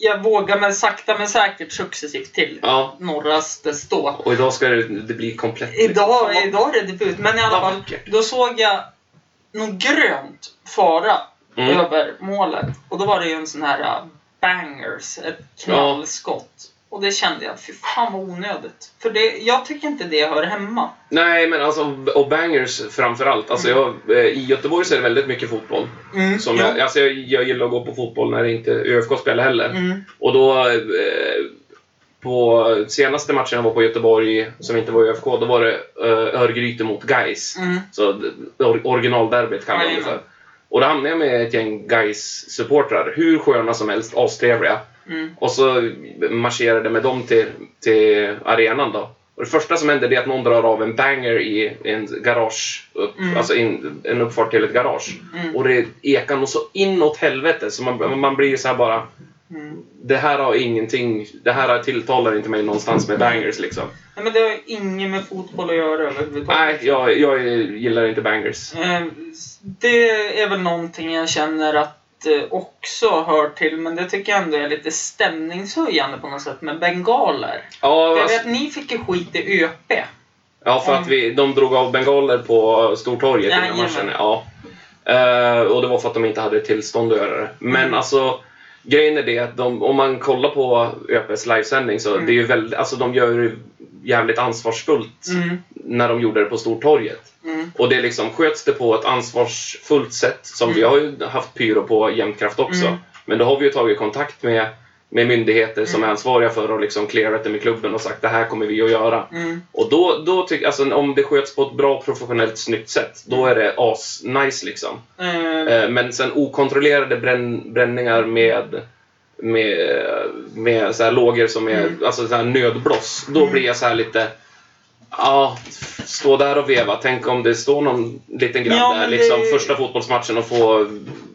B: jag vågar men sakta men säkert successivt till
C: ja.
B: Norras bestå.
C: Och idag ska det, det bli komplett. liksom.
B: Idag, idag är det debut, men i alla
C: Vad
B: fall,
C: vackert.
B: då såg jag något grönt fara
C: Mm.
B: över målet. Och då var det ju en sån här äh, bangers, ett knallskott. Och det kände jag, fy fan vad onödigt. För det, jag tycker inte det hör hemma.
C: Nej, men alltså, och bangers framförallt. Alltså, jag, eh, I Göteborg så är det väldigt mycket fotboll.
B: Mm.
C: Som jag, alltså, jag, jag gillar att gå på fotboll när inte ÖFK spelar heller.
B: Mm.
C: Och då eh, på senaste matchen jag var på i Göteborg, som inte var ÖFK, då var det eh, Örgryte mot Gais.
B: Mm.
C: Så d- or, originalderbyt kallar man det för.
B: Jajamän.
C: Och då hamnade jag med ett gäng gais supportrar hur sköna som helst, astrevliga.
B: Mm.
C: Och så marscherade jag med dem till, till arenan då. Och det första som händer det är att någon drar av en banger i en garage, upp,
B: Mm.
C: alltså in, en uppfart till ett garage.
B: Mm.
C: Och det ekar nog så inåt helvete så man, man blir ju så här bara
B: Mm.
C: det här har ingenting, det här tilltalar inte mig någonstans med bangers liksom.
B: Nej, men det har ju inget med fotboll att göra överhuvudtaget.
C: Nej, jag, jag gillar inte bangers.
B: Eh, Det är väl någonting jag känner att eh, också hör till, men det tycker jag ändå är lite stämningshöjande på något sätt med bengaler.
C: Ja,
B: Jag
C: alltså,
B: vet, ni fick ju skit i ÖP.
C: ja för att vi, de drog av bengaler på Stortorget innan
B: Jajamän.
C: matchen. Ja. Eh, och det var för att de inte hade tillstånd att göra det. Men alltså, grejen är det att de, om man kollar på ÖPs livesändning
B: Mm.
C: så det är ju väldigt, alltså de gör det jävligt ansvarsfullt
B: Mm.
C: när de gjorde det på Stortorget.
B: Mm.
C: Och det liksom sköts det på ett ansvarsfullt sätt, som vi har ju haft pyro på Jämtkraft också.
B: Mm.
C: Men då har vi ju tagit kontakt med, med myndigheter som är ansvariga för att liksom clearat det med klubben och sagt det här kommer vi att göra.
B: Mm.
C: Och då, då tycker alltså om det sköts på ett bra, professionellt, snyggt sätt, då
B: Mm.
C: är det as-nice liksom.
B: Eh,
C: Eh, Men sen okontrollerade bränn, bränningar med med, med så här lågor som är
B: Mm.
C: alltså så här nödbloss. Då
B: Mm.
C: blir jag så här lite... Ja, stå där och veva. Tänk om det står någon liten grabb
B: Ja, men
C: där liksom
B: det-
C: första fotbollsmatchen och få...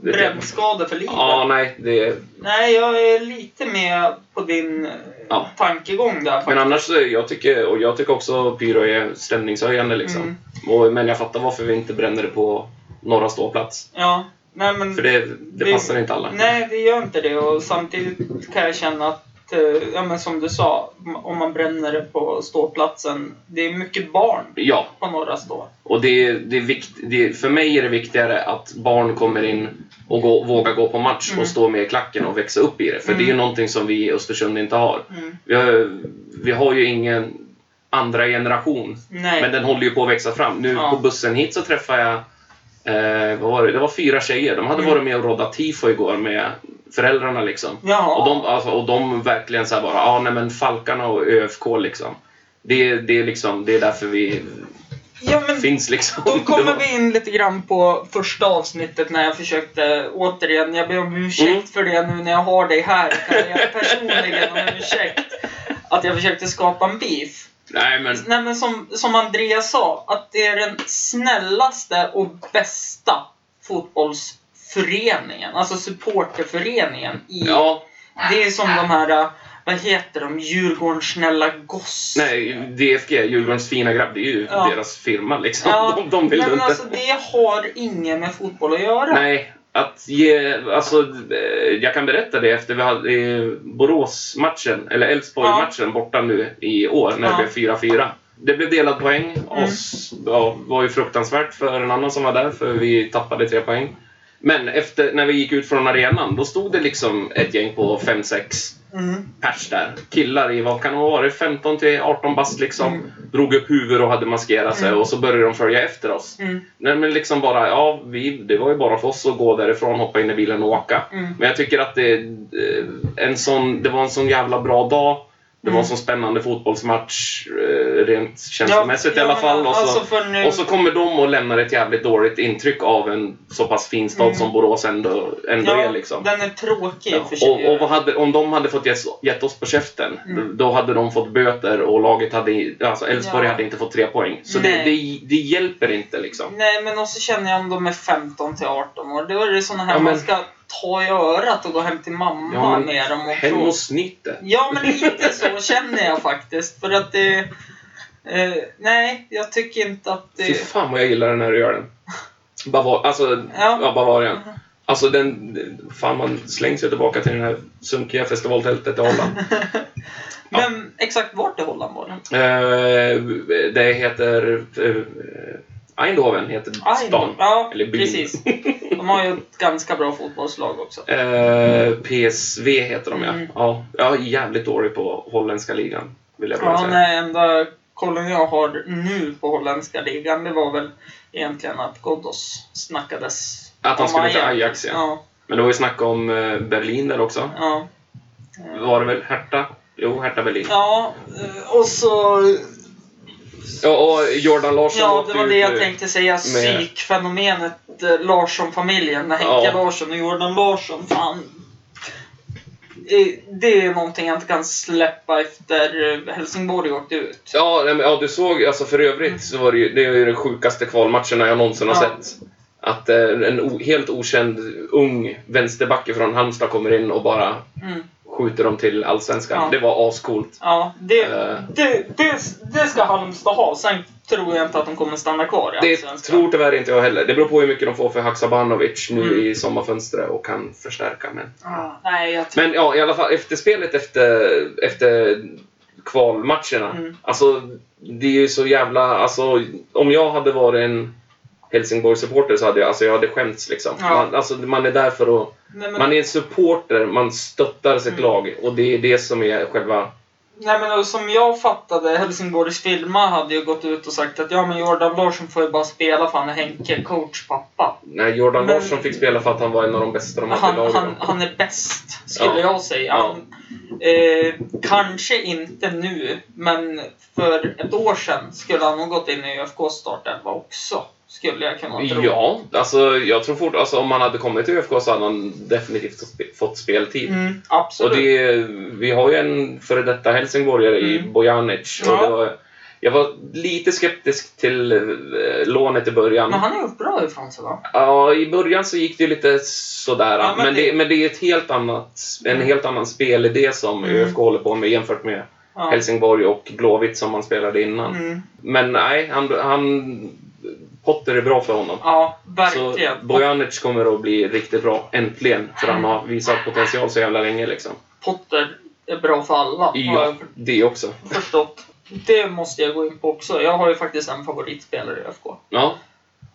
B: Brännskador för livet.
C: Ja, nej. Det...
B: Nej, jag är lite med på din eh,
C: Ja.
B: tankegång där.
C: Men annars, så, jag tycker, och jag tycker också pyro är stämningshöjande liksom.
B: Mm.
C: Och, men jag fattar varför vi inte bränner det på norra ståplats.
B: Ja, nej men...
C: För det, det passar inte alla.
B: Nej, det gör inte det. Och samtidigt kan jag känna att, eh, ja men som du sa, m- om man bränner det på ståplatsen. Det är mycket barn
C: Ja,
B: på norra stå.
C: och det, det är vikt, det, för mig är det viktigare att barn kommer in och gå, vågar gå på match
B: Mm.
C: och stå med i klacken och växa upp i det. För det är ju
B: Mm.
C: någonting som vi i Östersund inte har.
B: Mm.
C: Vi har, vi har ju ingen andra generation
B: Nej.
C: Men den håller ju på att växa fram. Nu
B: Ja.
C: på bussen hit så träffade jag eh, vad var det? det var fyra tjejer. De hade
B: Mm.
C: varit med och roddat tifo igår med föräldrarna. liksom.
B: Jaha.
C: Och, de, alltså, och de verkligen så här bara, ja ah, nej men Falkarna och ÖFK liksom. Det, det, är liksom. det är därför vi
B: ja, men
C: finns liksom.
B: Då
C: Det
B: kommer
C: var-
B: vi in lite grann på första avsnittet när jag försökte återigen, jag ber om ursäkt
C: Mm.
B: för det nu när jag har dig här, kan jag personligen om ursäkt att jag försökte skapa en beef.
C: Nej men,
B: Nej men som, som Andreas sa, att det är den snällaste och bästa fotbollsföreningen, alltså supporterföreningen i...
C: ja.
B: Det är som de här, äh, vad heter de, Djurgårdens snälla goss.
C: Nej, DFG, Djurgårdens fina grabb, det är ju
B: Ja.
C: deras firma liksom.
B: Ja,
C: de, de vill
B: nej,
C: ju
B: men
C: inte.
B: alltså det har ingen med fotboll att göra.
C: Nej, att ge... Alltså, eh, jag kan berätta det efter vi hade eh, Borås-matchen, eller Elfsborg-matchen borta nu i år när
B: Ja.
C: det blev 4-4. Det blev delad poäng.
B: Mm.
C: Och s- ja, var ju fruktansvärt för en annan som var där, för vi tappade tre poäng. Men efter, när vi gick ut från arenan, då stod det liksom ett gäng på 5-6
B: Mm.
C: pers där. Killar i, vad kan de vara, 15 till 18 bast liksom.
B: Mm.
C: Drog upp huvud och hade maskerat sig
B: Mm.
C: och så började de följa efter oss.
B: Mm.
C: Nej men liksom bara, ja, vi, det var ju bara för oss att gå därifrån, hoppa in i bilen och åka.
B: Mm.
C: Men jag tycker att det, eh, en sån, det var en sån jävla bra dag. Det var en
B: Mm.
C: sån spännande fotbollsmatch, eh, rent känslomässigt i alla
B: men
C: fall. Och så,
B: alltså för nu,
C: och så kommer de och lämnar ett jävligt dåligt intryck av en så pass fin stad
B: Mm.
C: som Borås ändå, ändå
B: ja,
C: är. Liksom.
B: Den är tråkig
C: Ja,
B: för
C: och, och vad
B: sig.
C: hade, om de hade fått gett, gett oss på käften,
B: Mm.
C: då hade de fått böter och laget hade, alltså Elfsborg
B: Ja.
C: hade inte fått tre poäng. Så det,
B: Nej.
C: det, det hjälper inte liksom.
B: Nej, men också känner jag om de är 15 till 18 år. Då är det såna här
C: Ja, men-
B: man ska ta i örat och gå hem till mamma
C: Ja, men
B: med dem och
C: Hem
B: fråga.
C: och snyt det.
B: Ja, men lite så känner jag faktiskt. För att det... Eh, nej, jag tycker inte att
C: Fy
B: det...
C: fan vad jag gillar den när du gör den. Bavar, alltså, ja.
B: Ja. Mm-hmm.
C: Bavarian. Alltså den, fan man slängs ju tillbaka till det här sunkiga festivaltältet i Holland.
B: Men exakt vart i Holland var det?
C: Eh, det heter, eh, Eindhoven heter
B: Aj,
C: stan.
B: Ja,
C: Eller byn.
B: precis. De har ju ett ganska bra fotbollslag också.
C: Eh, PSV heter de ja.
B: Mm.
C: ja. Jag är jävligt dålig på holländska ligan. Vill jag bara
B: Ja,
C: säga.
B: nej, enda kollen jag har nu på holländska ligan, det var väl egentligen att Ghoddos snackades.
C: Att han
B: om
C: skulle till Ajax, ja.
B: ja.
C: Men det var ju snack om eh, Berlin där också.
B: Ja, Mm.
C: Var det väl Hertha? Jo, Hertha Berlin. Ja.
B: ja eh, och så...
C: och Jordan Larsson
B: Ja,
C: åkte
B: det var
C: ut
B: det
C: nu.
B: jag tänkte säga. Psykfenomenet eh, Larsson-familjen. När Henke
C: Ja.
B: Larsson och Jordan Larsson, fan. Eh, Det är någonting jag inte kan släppa efter eh, Helsingborg åkte ut.
C: Ja, nej, men, ja, du såg, alltså för övrigt så var det ju, det är ju den sjukaste kvalmatcherna jag någonsin har
B: Mm. Ja.
C: sett. Att eh, en o, helt okänd ung vänsterback från Halmstad kommer in och bara
B: Mm.
C: skjuter dem till Allsvenskan.
B: Ja.
C: Det var ascoolt.
B: Ja, det,
C: Eh.
B: det, det, det ska Halmstad ha. Sen tror jag inte att de kommer stanna kvar i
C: Det
B: Allsvenskan.
C: tror tyvärr inte jag heller. Det beror på hur mycket de får för Haksabanovic nu
B: Mm.
C: i sommarfönstret och kan förstärka. Men,
B: Ah, nej, jag tror...
C: men ja, i alla fall efterspelet efter, efter kvalmatcherna.
B: Mm.
C: Alltså, det är ju så jävla... Alltså, om jag hade varit en Helsingborg-supporter så hade jag, alltså, jag hade skämts. Liksom.
B: Ja.
C: Man, alltså, man är där för att...
B: Nej, men,
C: Man är en supporter, man stöttar sitt
B: Mm.
C: lag och det är det som är själva...
B: nej, men och som jag fattade, Helsingborgs firma hade ju gått ut och sagt att ja, men Jordan Larsson får ju bara spela för han är Henke, coach, pappa.
C: När Jordan
B: Men-
C: Larsson fick spela för att han var en av de bästa de hade i
B: Han,
C: laget.
B: han, han är bäst, skulle
C: Ja.
B: jag säga. Han, eh, kanske inte nu, men för ett år sedan skulle han nog gått in i ÖFK startelva också. Skulle jag kunna tro.
C: Ja, alltså jag tror fort, alltså, om han hade kommit till ÖFK så hade han definitivt sp- fått speltid.
B: Mm,
C: Och
B: absolut.
C: det, vi har ju en före detta helsingborgare i
B: Mm.
C: Bojanic. Och
B: Ja.
C: det var, Jag var lite skeptisk till eh, lånet i början.
B: Men han är uppdrag ifrån sig va?
C: Ja, i början så gick det ju lite sådär.
B: Ja, men
C: men, det,
B: det-
C: men det är ett helt annat, en helt annan spelidé som
B: Mm.
C: ÖFK håller på med jämfört med
B: Ja.
C: Helsingborg och Blåvitt som man spelade innan.
B: Mm.
C: Men nej, han, han, Potter är bra för honom.
B: Ja,
C: Så
B: verkligen.
C: Bojanic kommer att bli riktigt bra, äntligen. För han har visat potential så jävla länge liksom.
B: Potter är bra för alla, har
C: Ja,
B: jag för-
C: det också.
B: förstått. Det måste jag gå in på också. Jag har ju faktiskt en favoritspelare i FK.
C: Ja,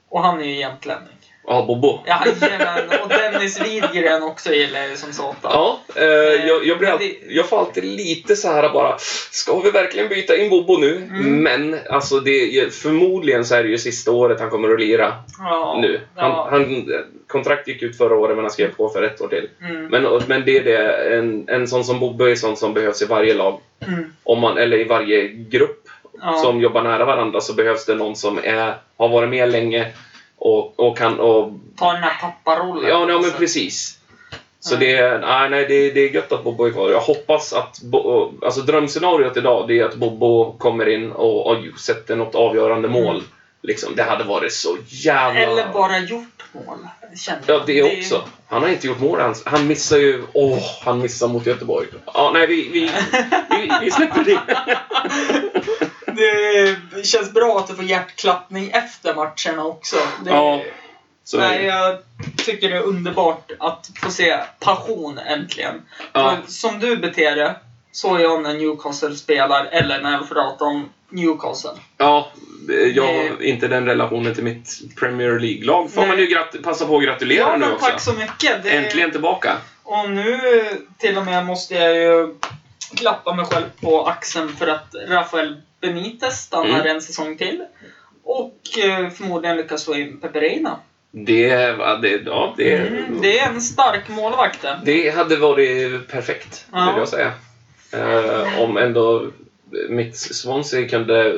B: Och han är ju jämtlänning.
C: ja Bobo.
B: Jajamän, och Dennis Widgren också gillar jag ju som satan.
C: Ja, eh, jag, jag, blir
B: Men
C: alltid, jag får alltid lite så här bara, ska vi verkligen byta in Bobo nu?
B: Mm.
C: Men alltså det, är- förmodligen så är det ju sista året han kommer att lira
B: Ja,
C: nu. Han,
B: ja.
C: han, kontrakt gick ut förra året men han skrev på för ett år till.
B: Mm,
C: Men, och- men det är det, en, en sån som Bobo är en sån som behövs i varje lag.
B: mm,
C: Om man, eller i varje grupp
B: ja.
C: som jobbar nära varandra så behövs det någon som är, har varit med länge och, och kan och
B: Ta den här papparollen.
C: Ja, nej, men
B: Alltså. precis.
C: precis. Så det, nej, nej, det, det är gött att Bobo är kvar. Jag hoppas att... Bo, alltså drömscenariot idag det är att Bobo kommer in och, och sätter något avgörande mål.
B: Mm.
C: Liksom, det hade varit så jävla...
B: Eller bara gjort mål, kände
C: Ja,
B: jag.
C: det också. Han har inte gjort mål än. Han missar ju... Åh, han missar mot Göteborg. Ja, nej, vi, vi, vi, vi släpper det.
B: Det känns bra att du får hjärtklappning efter matcherna också. Det,
C: Ja, Så är
B: nej,
C: det.
B: jag tycker det är underbart att få se passion äntligen.
C: Ja.
B: För Som du beter det, så är jag när Newcastle spelar eller när jag pratar om Newcastle.
C: Ja, eh, jag har
B: Nej.
C: inte den relationen till mitt Premier League-lag. Får man ju
B: Eh. Nej.
C: grat- passa på att gratulera
B: Ja,
C: nu
B: men
C: också.
B: tack så mycket. Det,
C: Äntligen tillbaka.
B: Och nu till och med måste jag ju klappa mig själv på axeln för att Rafael Benitez stannar
C: Mm.
B: en säsong till. Och eh, förmodligen lyckas få in Peperina.
C: Det, va, det, ja, det,
B: Mm, det är en stark målvakt det.
C: det hade varit perfekt,
B: Ja.
C: vill jag säga. Eh, om ändå mitt Swansea kunde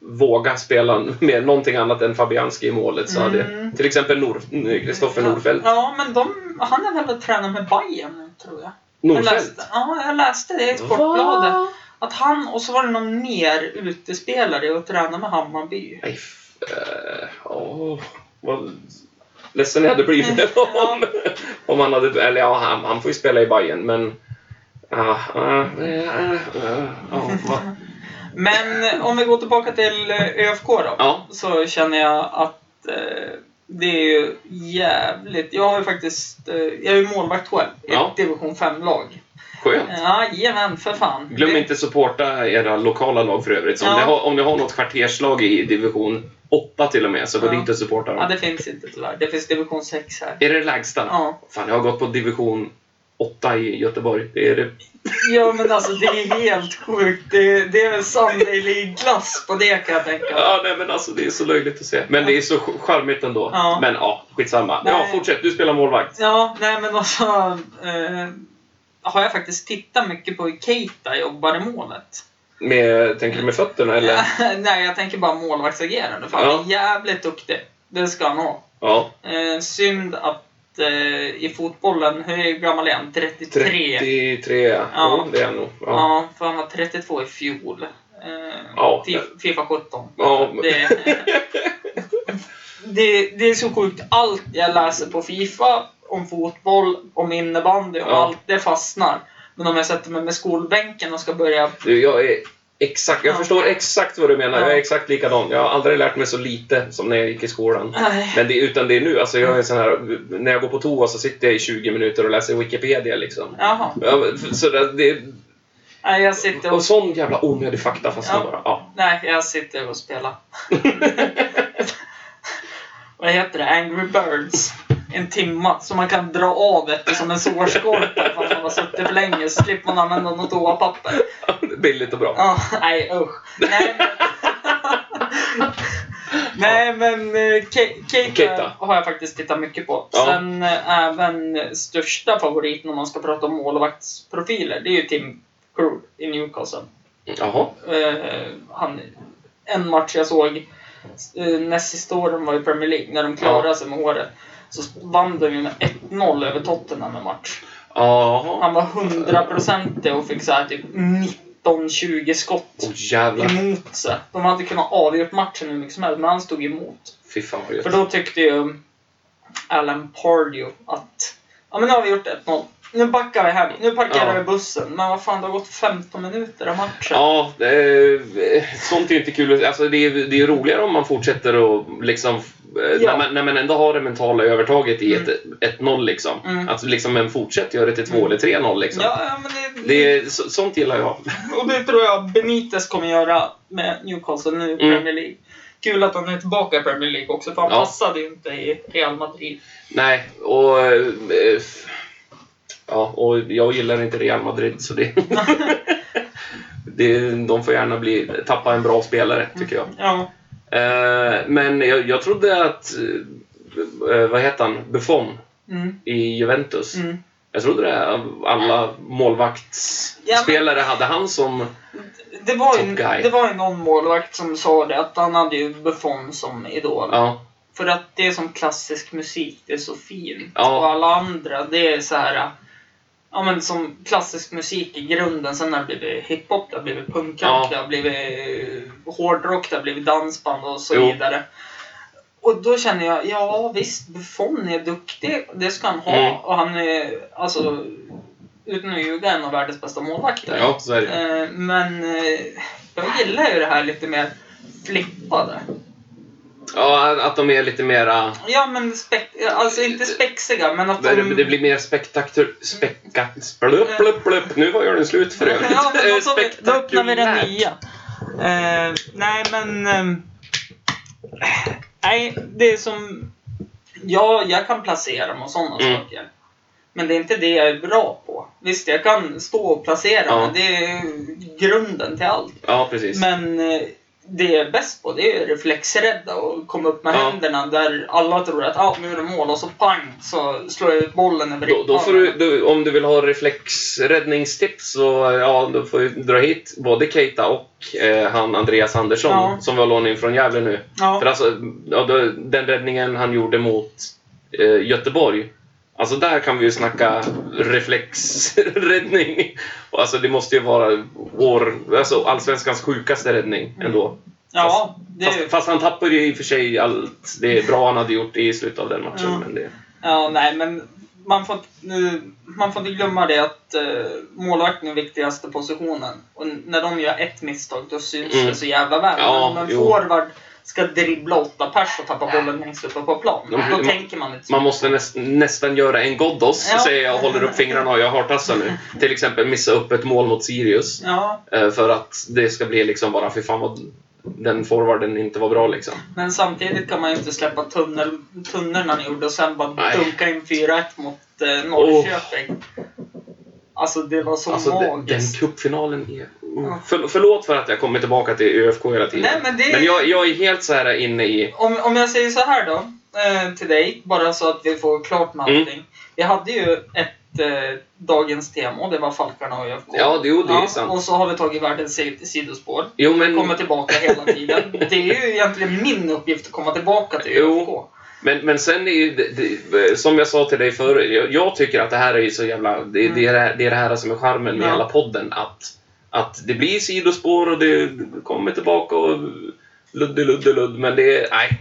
C: våga spela med någonting annat än Fabianski i målet så hade
B: Mm.
C: till exempel Nor- Kristoffer Norfeldt.
B: Ja, men de, han är väl och tränar med Bayern tror jag. Jag
C: Norfeldt?
B: läste, ja, jag läste det i Sportbladet. Att han, och så var det någon mer utespelare och tränade med Hammarby.
C: Nej, f- eh, ja, vad ledsen jag hade blivit
B: Mm. Ja.
C: om, om han hade... Eller ja, han, han får ju spela i Bayern men... ah, ah, eh, eh, eh, ja, va.
B: Men eh, om vi går tillbaka till eh, ÖFK då.
C: Ja.
B: Så känner jag att eh, det är ju jävligt. Jag har ju faktiskt, eh, jag är ju målvakt själv i
C: Ja.
B: ett division 5-lag.
C: Skönt.
B: Jajamän, för fan.
C: Glöm
B: Det-
C: inte supporta era lokala lag för övrigt. Så om,
B: Ja.
C: ni har, om ni har något kvarterslag i division 8 till och med, så gå
B: Ja.
C: dit och supporta
B: Ja,
C: dem.
B: det finns inte tyvärr. Det finns division 6 här.
C: Är det det lägsta?
B: Ja.
C: Fan, jag har gått på division 8 i Göteborg. Det är det.
B: ja, men alltså det är helt sjukt. Det, det är väl Sunday League-glass på det kan jag tänka mig.
C: Ja, nej, men alltså, det är så löjligt att se. Men det är så ch- charmigt ändå.
B: Ja.
C: Men ja, skitsamma. Ja,
B: Nej.
C: fortsätt. Du spelar målvakt.
B: Ja, nej men alltså. Eh, har jag faktiskt tittat mycket på hur Keita jobbar i målet.
C: Med, tänker du med fötterna eller? Ja.
B: Nej, jag tänker bara målvaktsagerande. För han
C: Ja.
B: är jävligt duktig. Det ska han ha. Eh, synd att eh, i fotbollen, hur gammal är han? 33?
C: 33. Ja,
B: Ja.
C: det är jag nog. Ja.
B: Ja, för han var 32 i fjol. Eh,
C: Ja.
B: Fi- Fifa 17.
C: Ja, men-
B: Det, det, det är så sjukt. Allt jag läser på Fifa, om fotboll, om innebandy, om
C: Ja.
B: allt, det fastnar. Men om jag sätter mig med skolbänken och ska börja
C: Du, jag är exakt, jag
B: Ja.
C: förstår exakt vad du menar.
B: Ja.
C: Jag är exakt likadan. Jag har aldrig lärt mig så lite som när jag gick i skolan.
B: Nej.
C: Men det, utan det är nu. Alltså
B: Mm.
C: jag är en sån här, när jag går på toa så sitter jag i 20 minuter och läser Wikipedia. Liksom.
B: Jaha.
C: Ja, men f- så det, det,
B: Nej, jag sitter och
C: och sån jävla onödig fakta fastnar
B: Ja.
C: bara. Ja.
B: Nej, jag sitter och spelar. Vad heter det? Angry Birds. En timma som man kan dra av efter som en sårskorpa ifall man har suttit för länge så slipper man använda något toapapper.
C: Billigt och bra.
B: Ja, nej usch. Nej men, nej, men eh, Ke- Keita,
C: Keita.
B: har jag faktiskt tittat mycket på.
C: Ja.
B: Sen eh, även största favoriten om man ska prata om målvaktsprofiler, det är ju Tim Krul i Newcastle.
C: Jaha.
B: Eh, han, en match jag såg eh, näst sista åren var i Premier League, när de klarade sig med håret. Så vann de ju med 1-0 över Tottenham en match.
C: Jaha.
B: Han var hundraprocentig och fick så här typ 90 15-20 skott
C: Åh jävlar.
B: emot sig. De hade kunnat avgjort matchen hur mycket som helst, men han stod emot.
C: Fy fan vad gött.
B: För då tyckte ju um, Alan Pardew att ja, men nu har vi gjort 1-0. Nu backar vi hem. Nu parkerar
C: Ja.
B: vi bussen. Men vad fan, det har gått 15 minuter av matchen.
C: Ja, det är, sånt är inte kul. Alltså, det, är, det är roligare om man fortsätter och liksom... eh,
B: Ja.
C: När, man, när man ändå har det mentala övertaget i ett, ett 1-0 liksom.
B: Mm.
C: Att liksom en fortsätt gör det till 2 eller 3-0 liksom.
B: Ja, ja, men det,
C: Det är, så, sånt gillar jag.
B: Och det tror jag Benitez kommer göra med Newcastle nu i Premier League. Kul att han är tillbaka i Premier League också, för han
C: Mm. Ja.
B: passade ju inte i Real Madrid.
C: Nej, och... eh, f- Ja, och jag gillar inte Real Madrid så det... det de får gärna bli, tappa en bra spelare tycker jag.
B: Ja.
C: Eh, men jag, jag trodde att... Eh, vad heter han? Buffon
B: Mm.
C: i Juventus.
B: Mm.
C: Jag trodde det. Alla målvaktsspelare hade han som...
B: Det, var ju,
C: Top guy.
B: det var ju någon målvakt som sa det, att han hade ju Buffon som idol.
C: Ja,
B: För att det är som klassisk musik, det är så fint.
C: Ja.
B: Och alla andra, det är så här... Ja men som klassisk musik i grunden, sen har det blivit hiphop, det har blivit punkrock,
C: Ja.
B: det har blivit eh, hårdrock, det har blivit dansband och så
C: Jo.
B: vidare. Och då känner jag, ja visst, Buffon är duktig, det ska han ha.
C: Mm.
B: Och han är, alltså, utan att ljuga, en av världens bästa målvakter.
C: ja så är det.
B: Eh, Men eh, jag gillar ju det här lite mer flippade.
C: Ja, att de är lite mera...
B: Ja, men spek- alltså inte spexiga, men att
C: Det,
B: de...
C: det blir mer spektakulär... Spekta, splupp, blupp, blupp. Nu var jag den slut för övrigt.
B: ja, men då, tar vi, då
C: Spektakulärt.
B: öppnar vi den nya. Eh, nej, men... ehm, nej, det är som... Ja, jag kan placera dem och sådana
C: Mm.
B: saker. Men det är inte det jag är bra på. Visst, jag kan stå och placera,
C: Ja.
B: men det är grunden till allt.
C: Ja, precis.
B: Men eh, det jag är bäst på det är reflexrädda och komma upp med
C: Ja.
B: händerna där alla tror att ah, nu är det mål och så pang så slår jag ut bollen över
C: Då, då får
B: ribban.
C: du, du, om du vill ha reflexräddningstips så ja, då får du dra hit både Keita och eh, han Andreas Andersson
B: Ja.
C: som var lånad in från Gävle nu.
B: Ja.
C: För alltså, ja, då, den räddningen han gjorde mot eh, Göteborg. Alltså där kan vi ju snacka reflexräddning. Och Alltså det måste ju vara vår, alltså allsvenskans sjukaste räddning ändå.
B: Ja, Mm. det är
C: Fast,
B: ju...
C: fast han tappade ju i och för sig allt det bra han hade gjort i slutet av den matchen.
B: Ja.
C: Men det,
B: Ja, nej, men man får, nu, man får inte glömma det att eh, målvakten är viktigaste positionen. Och n- när de gör ett misstag, då syns
C: Mm.
B: det så jävla väl.
C: Ja,
B: men om en
C: jo.
B: forward ska dribbla åtta pers och tappa bollen längst uppe på plan,
C: De-
B: då
C: man-
B: tänker man inte så.
C: Man måste näst, nästan göra en Ghoddos,
B: Ja.
C: säger jag och håller upp fingrarna och jag har tassar nu. Till exempel missa upp ett mål mot Sirius.
B: Ja,
C: eh, För att det ska bli liksom bara, fy fan vad den forwarden inte var bra liksom.
B: Men samtidigt kan man ju inte släppa tunnel, tunneln han gjorde och sen bara
C: Nej.
B: dunka in 4-1 mot eh, Norrköping. Alltså det var så
C: Alltså de- den
B: magiskt.
C: cupfinalen är... Mm.
B: Ja.
C: För, förlåt för att jag kommer tillbaka till ÖFK hela tiden.
B: Nej, men det-
C: jag, jag är helt så här inne i...
B: Om, om jag säger så här då, eh, till dig, bara så att vi får klart med
C: Mm.
B: allting. Vi hade ju ett eh, dagens tema och det var Falkarna och ÖFK.
C: Ja, det- jo, det är sant. Mm.
B: Och så har vi tagit världens sid- sidospår.
C: Jo men,
B: Kommer tillbaka hela tiden. Det är ju egentligen min uppgift att komma tillbaka till
C: Jo.
B: ÖFK.
C: men, men sen är ju, det, det, som jag sa till dig förut, jag, jag tycker att det här är ju så jävla... Det, det, är, det här- det är det här som är charmen med
B: Ja.
C: hela podden. Att, att det blir sidospår och det kommer tillbaka och ludde, ludde, ludd. Men det är... Nej.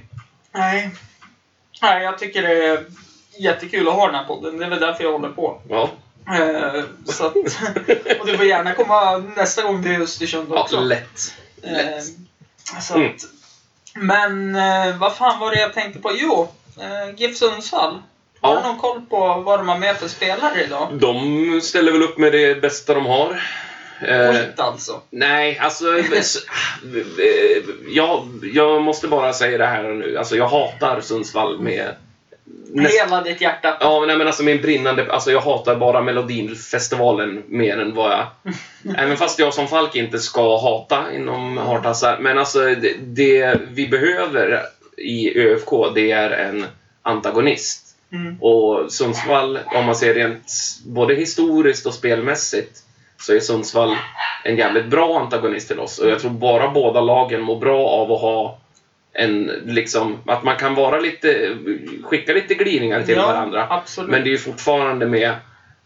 B: Nej. Nej, jag tycker det är jättekul att ha den här podden. Det är väl därför jag håller på.
C: Ja.
B: Eh, så att, och du får gärna komma nästa gång till Östersund
C: ja
B: också.
C: lätt.
B: Eh,
C: lätt. Mm.
B: så att, men eh, vad fan var det jag tänkte på? Jo, eh, GIF Sundsvall. Har
C: Ja.
B: du någon koll på vad de har med för spelare idag?
C: De ställer väl upp med det bästa de har. Eh,
B: Skit alltså.
C: Nej, alltså... s- eh, jag, jag måste bara säga det här nu. Alltså, jag hatar Sundsvall med... Näst,
B: Hela ditt hjärta.
C: ja, nej, men alltså min brinnande... Alltså, jag hatar bara Melodifestivalen mer än vad jag... Även fast jag som Falk inte ska hata inom hartassar. Men alltså, det, det vi behöver i ÖFK, det är en antagonist.
B: Mm.
C: Och Sundsvall, om man ser rent både historiskt och spelmässigt, så är Sundsvall en jävligt bra antagonist till oss. Och jag tror bara båda lagen mår bra av att ha en, liksom, att man kan vara lite, skicka lite glidningar till
B: Ja,
C: varandra.
B: absolut.
C: Men det är ju fortfarande med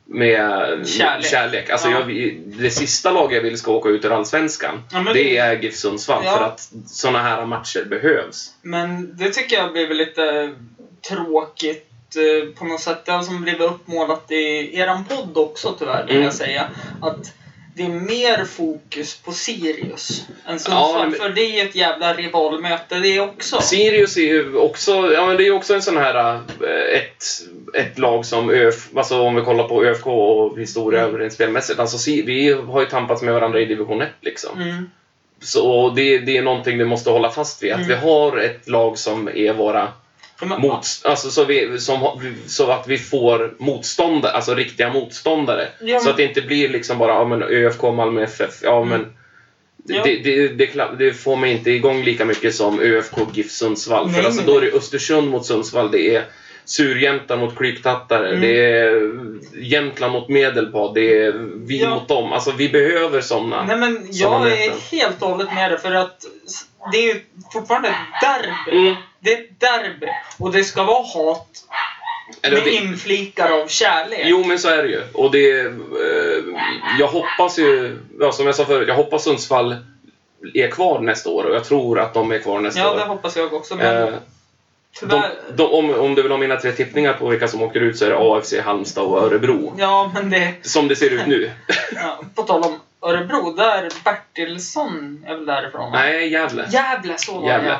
C: med
B: Kärlek.
C: kärlek. Alltså,
B: Ja.
C: jag, det sista laget jag vill ska åka ut ur Allsvenskan,
B: Ja, men
C: det
B: det-
C: är GIF Sundsvall.
B: Ja.
C: För att sådana här matcher behövs.
B: Men det tycker jag blev lite tråkigt eh, på något sätt. Det har som blivit uppmålat i eran podd också tyvärr, vill
C: Mm.
B: jag säga. Att det är mer fokus på Sirius än
C: Ja,
B: Sundsvall.
C: men-
B: För det är ett jävla rivalmöte det också.
C: Sirius är ju också, ja, men det är ju också en sån här, eh, ett, ett lag som ÖF, alltså om vi kollar på ÖFK och historia
B: Mm.
C: överspelmässigt. Alltså, Si- vi har ju tampats med varandra i division 1 liksom.
B: Mm.
C: Så det, det är någonting vi måste hålla fast vid. Att
B: Mm.
C: vi har ett lag som är våra
B: Ja, men-
C: mot, alltså så, vi, som, har- så att vi får motståndare, alltså riktiga motståndare.
B: Ja, men-
C: Så att det inte blir liksom bara ja, men ÖFK, Malmö FF. Ja,
B: Mm.
C: men,
B: Ja.
C: det, det, det, kla- det får mig inte igång lika mycket som ÖFK, GIF, Sundsvall.
B: Nej,
C: För alltså,
B: nej,
C: då är det Östersund mot Sundsvall. Det är Surjämtar mot Klyktattare.
B: Mm.
C: Det är Jämtland mot Medelpad. Det är vi
B: Ja.
C: mot dem. Alltså, vi behöver sådana.
B: Nej men
C: Sådana
B: jag är
C: möten.
B: helt och hållet med dig för att s- det är ju fortfarande ett derby.
C: Mm.
B: Det är ett derby. Och det ska vara hat
C: Eller
B: med
C: det-
B: inflikar av kärlek.
C: Jo, men så är det ju. Och det... Eh, jag hoppas ju... Ja, som jag sa förut, jag hoppas Sundsvall är kvar nästa år och jag tror att de är kvar nästa
B: ja,
C: år.
B: det hoppas jag också. Men
C: Eh, de,
B: tyvärr...
C: de, om, om du vill ha mina tre tippningar på vilka som åker ut så är det AFC, Halmstad och Örebro.
B: Ja, men det...
C: Som det ser ut nu.
B: Ja, på tal om Örebro, där Bertilsson är väl därifrån? va?
C: Nej, Gävle.
B: Gävle, så var
C: Gävle.
B: det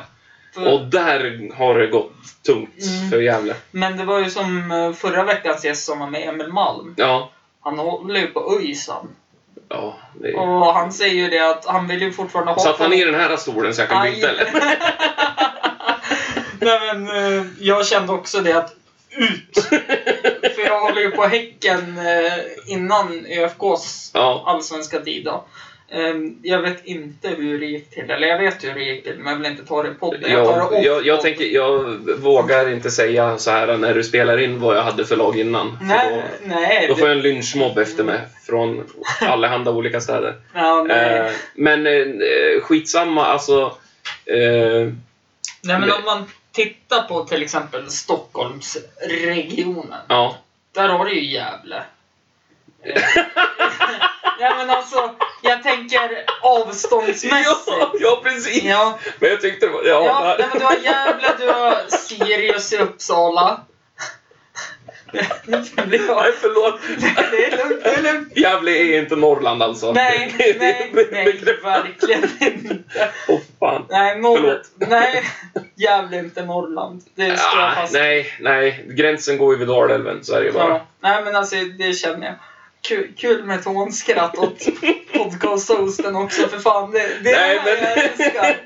B: För-
C: Och där har det gått tungt
B: Mm.
C: för Gävle.
B: Men det var ju som eh, förra veckans gäst som var med, Emil Malm.
C: Ja.
B: Han håller ju på ÖISan.
C: ja det är...
B: Och han säger ju det att han vill ju fortfarande ha...
C: Satt Mm. han i den här stolen så jag kan
B: Aj.
C: byta eller?
B: Nej men eh, jag kände också det att ut! För jag håller ju på Häcken eh, innan ÖFKs
C: Ja.
B: allsvenska tid då. Ehm, Jag vet inte hur det gick till, eller jag vet hur det gick till men jag vill inte ta det i podden. Jag tar det
C: Jag,
B: off
C: jag,
B: podden.
C: jag, tänker, jag vågar inte säga så här när du spelar in vad jag hade för lag innan. För
B: Nej,
C: Då,
B: nej.
C: då
B: Det,
C: får jag en lynchmobb efter mig från allehanda olika städer.
B: ja, nej.
C: Eh, men eh, skitsamma, alltså. Eh,
B: nej men
C: nej.
B: om man tittar på till exempel Stockholmsregionen.
C: ja.
B: Där har du ju Gävle. Eh, nej men alltså, jag tänker avståndsmässigt.
C: ja, precis.
B: Ja,
C: Men jag tyckte det var... Ja,
B: ja
C: där.
B: nej, men du har Gävle, du har Sirius i Uppsala. Det blir bra.
C: Nej, förlåt.
B: Det är lugnt, det är lugnt.
C: Gävle är inte Norrland alltså.
B: Nej,
C: Det- det-
B: nej,
C: det-
B: nej,
C: det-
B: verkligen inte.
C: Åh, fan.
B: Nej, norr,
C: Förlåt.
B: nej, Gävle är inte Norrland. Det står jag
C: Ah,
B: fast
C: nej, nej. Gränsen går ju vid Dalälven, så är det ju bara.
B: Ja. Nej men alltså det känner jag. Kul, kul med ett hånskratt åt podcast-hosten också för fan. Det, det är
C: Nej,
B: det här
C: men-
B: jag älskar.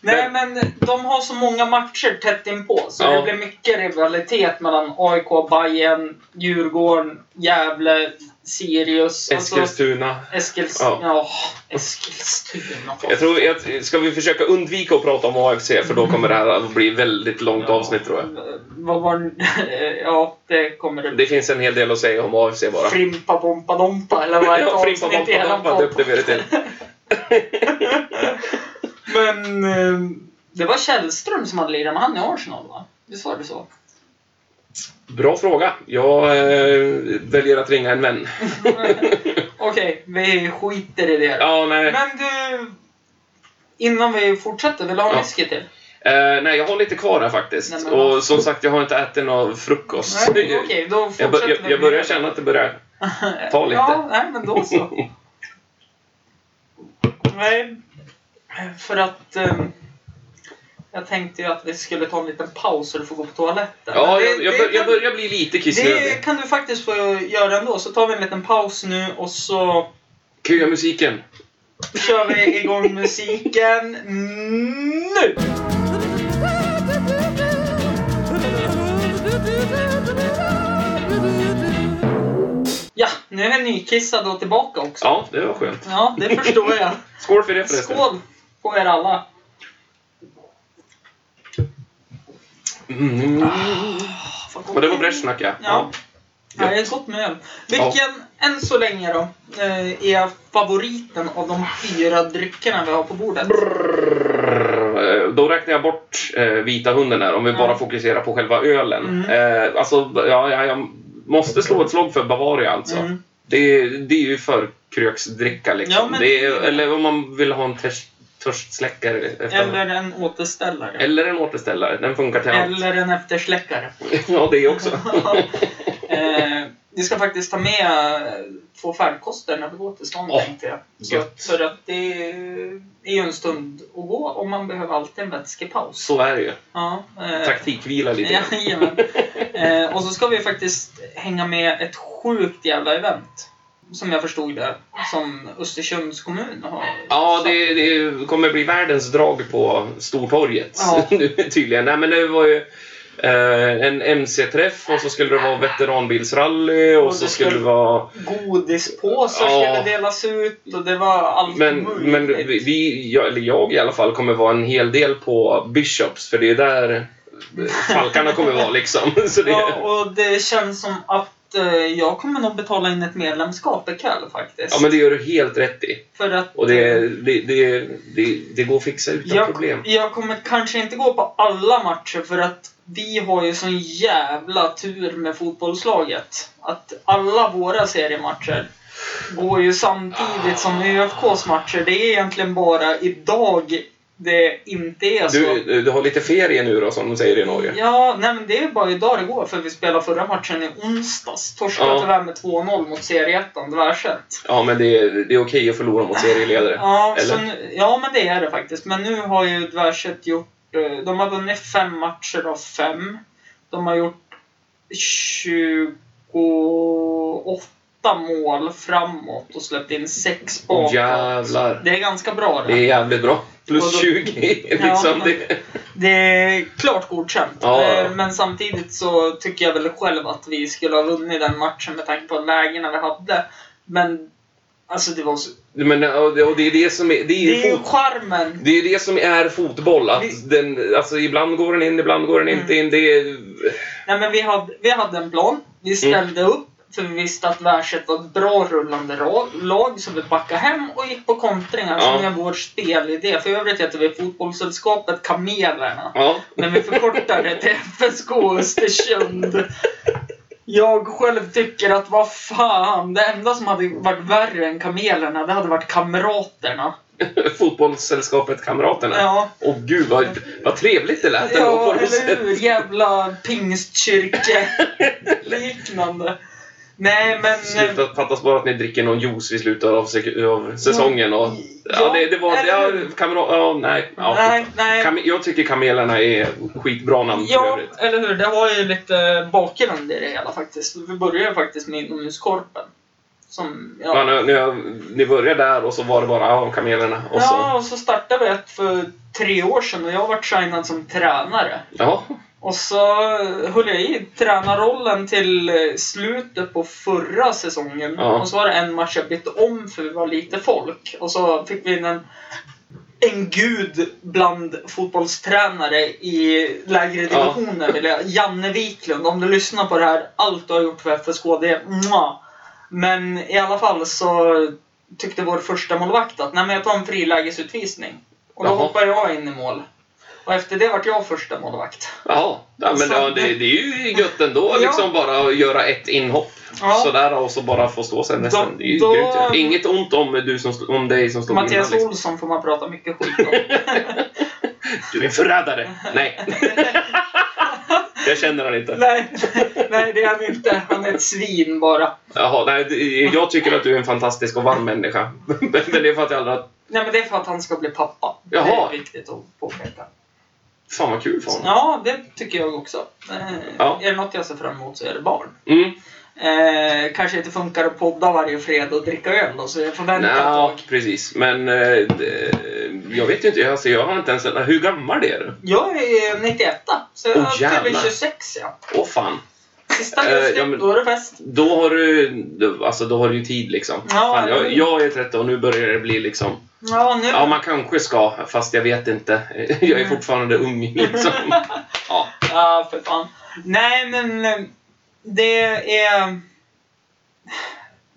B: Nej men de har så många matcher tätt inpå så
C: Ja.
B: det blir mycket rivalitet mellan AIK, Bayern, Djurgården, Gävle, Sirius. Alltså,
C: Eskilstuna.
B: Eskils...
C: Ja.
B: Ja. Eskilstuna.
C: Jag tror, jag, ska vi försöka undvika att prata om AFC för då kommer det här att bli väldigt långt avsnitt tror jag.
B: Vad var den- Ja, det kommer det bli.
C: Det finns en hel del att säga om AFC bara.
B: Frimpa bompa dompa eller vad är ett
C: Ja, Frimpa
B: avsnitt i
C: Bompa
B: hela
C: Dompa
B: podden?
C: döpte vi det till.
B: Men eh,
C: ehm,
B: det var Källström som hade lirat med han i Arsenal va? Visst var det så?
C: Bra fråga. Jag eh, väljer att ringa en vän.
B: Okej, vi skiter i det.
C: Ja, nej.
B: Men du, innan vi fortsätter, vill du ha en
C: Ja.
B: whisky till?
C: Eh, nej, jag har lite kvar här
B: Nej,
C: faktiskt.
B: men-
C: Och som sagt, jag har inte ätit någon frukost.
B: Nej, Okej, då
C: Jag,
B: fortsätter
C: bör, jag,
B: vi.
C: jag börjar känna att det börjar ta lite.
B: Ja, nej men då så. nej, för att ehm, jag tänkte ju att vi skulle ta en liten paus så du får gå på toaletten.
C: Ja,
B: Men det-
C: jag, jag,
B: det
C: bör, jag
B: kan-
C: börjar bli lite
B: Det
C: kissnödig.
B: kan du faktiskt få göra ändå, så tar vi en liten paus nu och så
C: Köa musiken.
B: kör vi igång musiken nu! Ja, nu är nykissad och tillbaka också.
C: Ja, det var skönt.
B: Ja, det förstår jag.
C: Skål för det förresten.
B: Skål på er alla!
C: Mm.
B: Fan,
C: Och det var Brezjnak, ja.
B: Ja. Ja, det
C: Gött.
B: är gott med öl. Vilken, än så länge då, eh, är favoriten av de fyra dryckerna vi har på bordet?
C: Brrrr. Eh, Då räknar jag bort eh, vita hunden här om vi
B: Ja.
C: bara fokuserar på själva ölen.
B: Mm.
C: Eh, alltså, ja, ja, jag måste slå ett slag för Bavaria alltså.
B: Mm.
C: Det, är- det är ju för kröksdricka liksom.
B: Ja, men-
C: det är, eller om man vill ha en törst, törstsläckare. Efter,
B: Eller en återställare.
C: eller en återställare. Den funkar till allt.
B: Eller en eftersläckare.
C: Ja, det också.
B: eh, vi ska faktiskt ta med eh, två färdkoster när vi går till stan
C: Åh,
B: tänkte jag. Så,
C: gött.
B: för att det är ju en stund att gå och man behöver alltid en vätskepaus.
C: Så är det ju.
B: Ja, eh,
C: Taktikvila lite grann.
B: Jajamän. Eh, och så ska vi faktiskt hänga med ett sjukt jävla event. Som jag förstod det. Som Östersunds kommun har.
C: Ja,
B: satt.
C: det, det kommer bli världens drag på Stortorget
B: Ja.
C: nu, tydligen. Nej, men det var ju eh, en MC-träff och så skulle det vara veteranbilsrally och,
B: Och
C: så
B: det
C: skulle det
B: skulle-
C: vara...
B: Godispåsar
C: Ja.
B: skulle delas ut och det var allt
C: Men,
B: möjligt.
C: men vi, vi- jag, eller jag i alla fall, kommer vara en hel del på Bishops för det är där Falkarna kommer vara liksom. Så det,
B: Ja, och det känns som att eh, jag kommer nog betala in ett medlemskap ikväll faktiskt.
C: ja, men det gör du helt rätt i.
B: För att... eh,
C: Och det, det, det, det, det går att fixa utan
B: jag,
C: problem.
B: jag kommer kanske inte gå på alla matcher för att vi har ju sån jävla tur med fotbollslaget. Att alla våra seriematcher går ju samtidigt som ÖFKs matcher. Det är egentligen bara idag det inte är så.
C: Du, du har lite ferie nu då, som de säger i Norge.
B: Ja, nej men det är bara idag det går för vi spelade förra matchen i onsdags. Torskade
C: Ja.
B: tyvärr med 2-0 mot serieettan Dvärset.
C: Ja, men det, det är okej att förlora mot serieledare.
B: Ja,
C: Eller?
B: så nu, ja, men det är det faktiskt. Men nu har ju Dvärset gjort... eh, De har vunnit fem matcher av fem. De har gjort 28 mål framåt och släppt in sex
C: Åh
B: bakåt.
C: jävlar.
B: Det är ganska bra
C: Det
B: det.
C: är jävligt bra.
B: Och
C: Plus
B: då-
C: 20 liksom.
B: Ja,
C: det,
B: Det är klart godkänt.
C: Ja, ja, ja.
B: Eh, Men samtidigt så tycker jag väl själv att vi skulle ha vunnit den matchen med tanke på lägena vi hade. Men alltså det var så...
C: men, och det, och det är det som är... Det är,
B: Det är ju
C: fot,
B: charmen!
C: det, är det som är fotboll. Att
B: Vi- Mm.
C: den, alltså, ibland går den in, ibland går den inte in. Det är,
B: Nej men vi hade, vi hade en plan. Vi
C: Mm.
B: ställde upp. För vi visste att Värset var ett bra rullande ra- lag. Så vi backade hem och gick på kontringar
C: Ja.
B: som är vår spelidé. För övrigt heter vi Fotbollssällskapet Kamelerna.
C: ja.
B: Men vi förkortar det till FSK Östersund. Jag själv tycker att vad fan, det enda som hade varit värre än kamelerna, det hade varit kamraterna.
C: Fotbollssällskapet Kamraterna.
B: Ja,
C: Åh gud vad, vad trevligt det lät ändå
B: ja
C: på något
B: eller
C: sätt.
B: hur? Jävla pingstkyrke-liknande. Nej, men...
C: Sluta, fattas bara att ni dricker någon juice vid slutet av, sek- av säsongen. Och, ja,
B: Ja,
C: det, det var...
B: eller
C: Ja,
B: hur?
C: kamrat, ja, nej, ja.
B: nej, nej.
C: Kam- jag tycker Kamelerna är skitbra namn för
B: Ja,
C: övrigt.
B: eller hur? Det har ju lite bakgrund i det hela faktiskt. Vi börjar ju faktiskt med Inomhuskorpen. Som, ja,
C: Ja. När, när, jag, ni började där och så var det bara ja, kamelerna och
B: Ja,
C: så...
B: och så startade vi ett för tre år sedan och jag vart signad som tränare.
C: Ja.
B: Och så höll jag i tränarrollen till eh, slutet på förra säsongen.
C: Ja.
B: Och så var det en match jag bytte om för vi var lite folk. Och så fick vi in en, en gud bland fotbollstränare i lägre
C: Ja.
B: divisioner. vill jag- Janne Wiklund, om du lyssnar på det här, allt du har gjort för FSK, det är mwah. Men i alla fall så tyckte vår första målvakt att nej men jag tar en frilägesutvisning. Och då
C: Jaha.
B: hoppar jag in i mål. Och efter det vart jag första målvakt.
C: Ja, ja men ja, det, det är ju gött ändå
B: Ja.
C: liksom bara att göra ett inhopp.
B: Ja.
C: Sådär och så bara få stå sen resten. Det är ju
B: Då-
C: grymt. ju. Inget ont om, du som, st- om dig som stod
B: Mattias
C: innan. Liksom.
B: Olsson får man prata mycket skit om.
C: Du är en förrädare! Nej. jag känner han inte.
B: nej, nej, det är han inte. Han är ett svin bara.
C: Jaha, nej, det- jag tycker att du är en fantastisk och varm människa. Men det är för att jag aldrig har...
B: Nej, men det är för att han ska bli pappa. Det
C: Jaha.
B: är viktigt att påpeka.
C: Fan vad kul för honom.
B: Ja, det tycker jag också. Eh,
C: Ja.
B: Är det något jag ser fram emot så är det barn.
C: Mm.
B: Eh, kanske inte funkar att podda varje fredag och dricka öl då, så jag får vänta ett
C: Nej,
B: tag.
C: precis. Men eh, det- jag vet ju inte. Alltså, jag har inte ens... Hur gammal är du?
B: Jag är 91 så
C: Åh,
B: jag fyller
C: jävlar.
B: 26 ja.
C: Åh fan.
B: Sista
C: Eh,
B: augusti,
C: ja, men-
B: då är det fest.
C: Då har du, du- alltså, då har du ju tid liksom.
B: Ja,
C: fan,
B: eller
C: jag,
B: hur?
C: jag är 30 och nu börjar det bli liksom...
B: Ja, nu.
C: Ja, man kanske ska, fast jag vet inte. Jag är
B: Mm.
C: fortfarande ung liksom. Ja.
B: Ja, för fan. Nej, men eh, det är...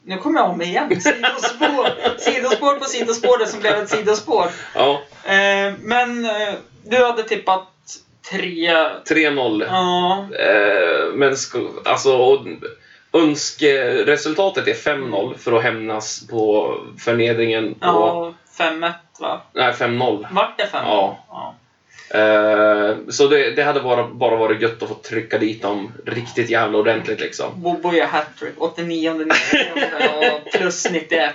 B: Nu kommer jag om igen. Sidospår. sidospår på sidospåret som blev ett sidospår.
C: ja.
B: Eh, men eh, du hade tippat tre...
C: 3-0.
B: Ja.
C: Eh, men sko, alltså, och, Önskeresultatet är 5-0 för att hämnas på förnedringen. På,
B: Ja, 5-1 va?
C: Nej, 5-0.
B: Vart det 5-1?
C: Ja.
B: ja.
C: Eh, så det, det hade bara, bara varit gött att få trycka dit dem riktigt jävla ordentligt liksom.
B: Bobo gör hattrick. 89 90 plus 91.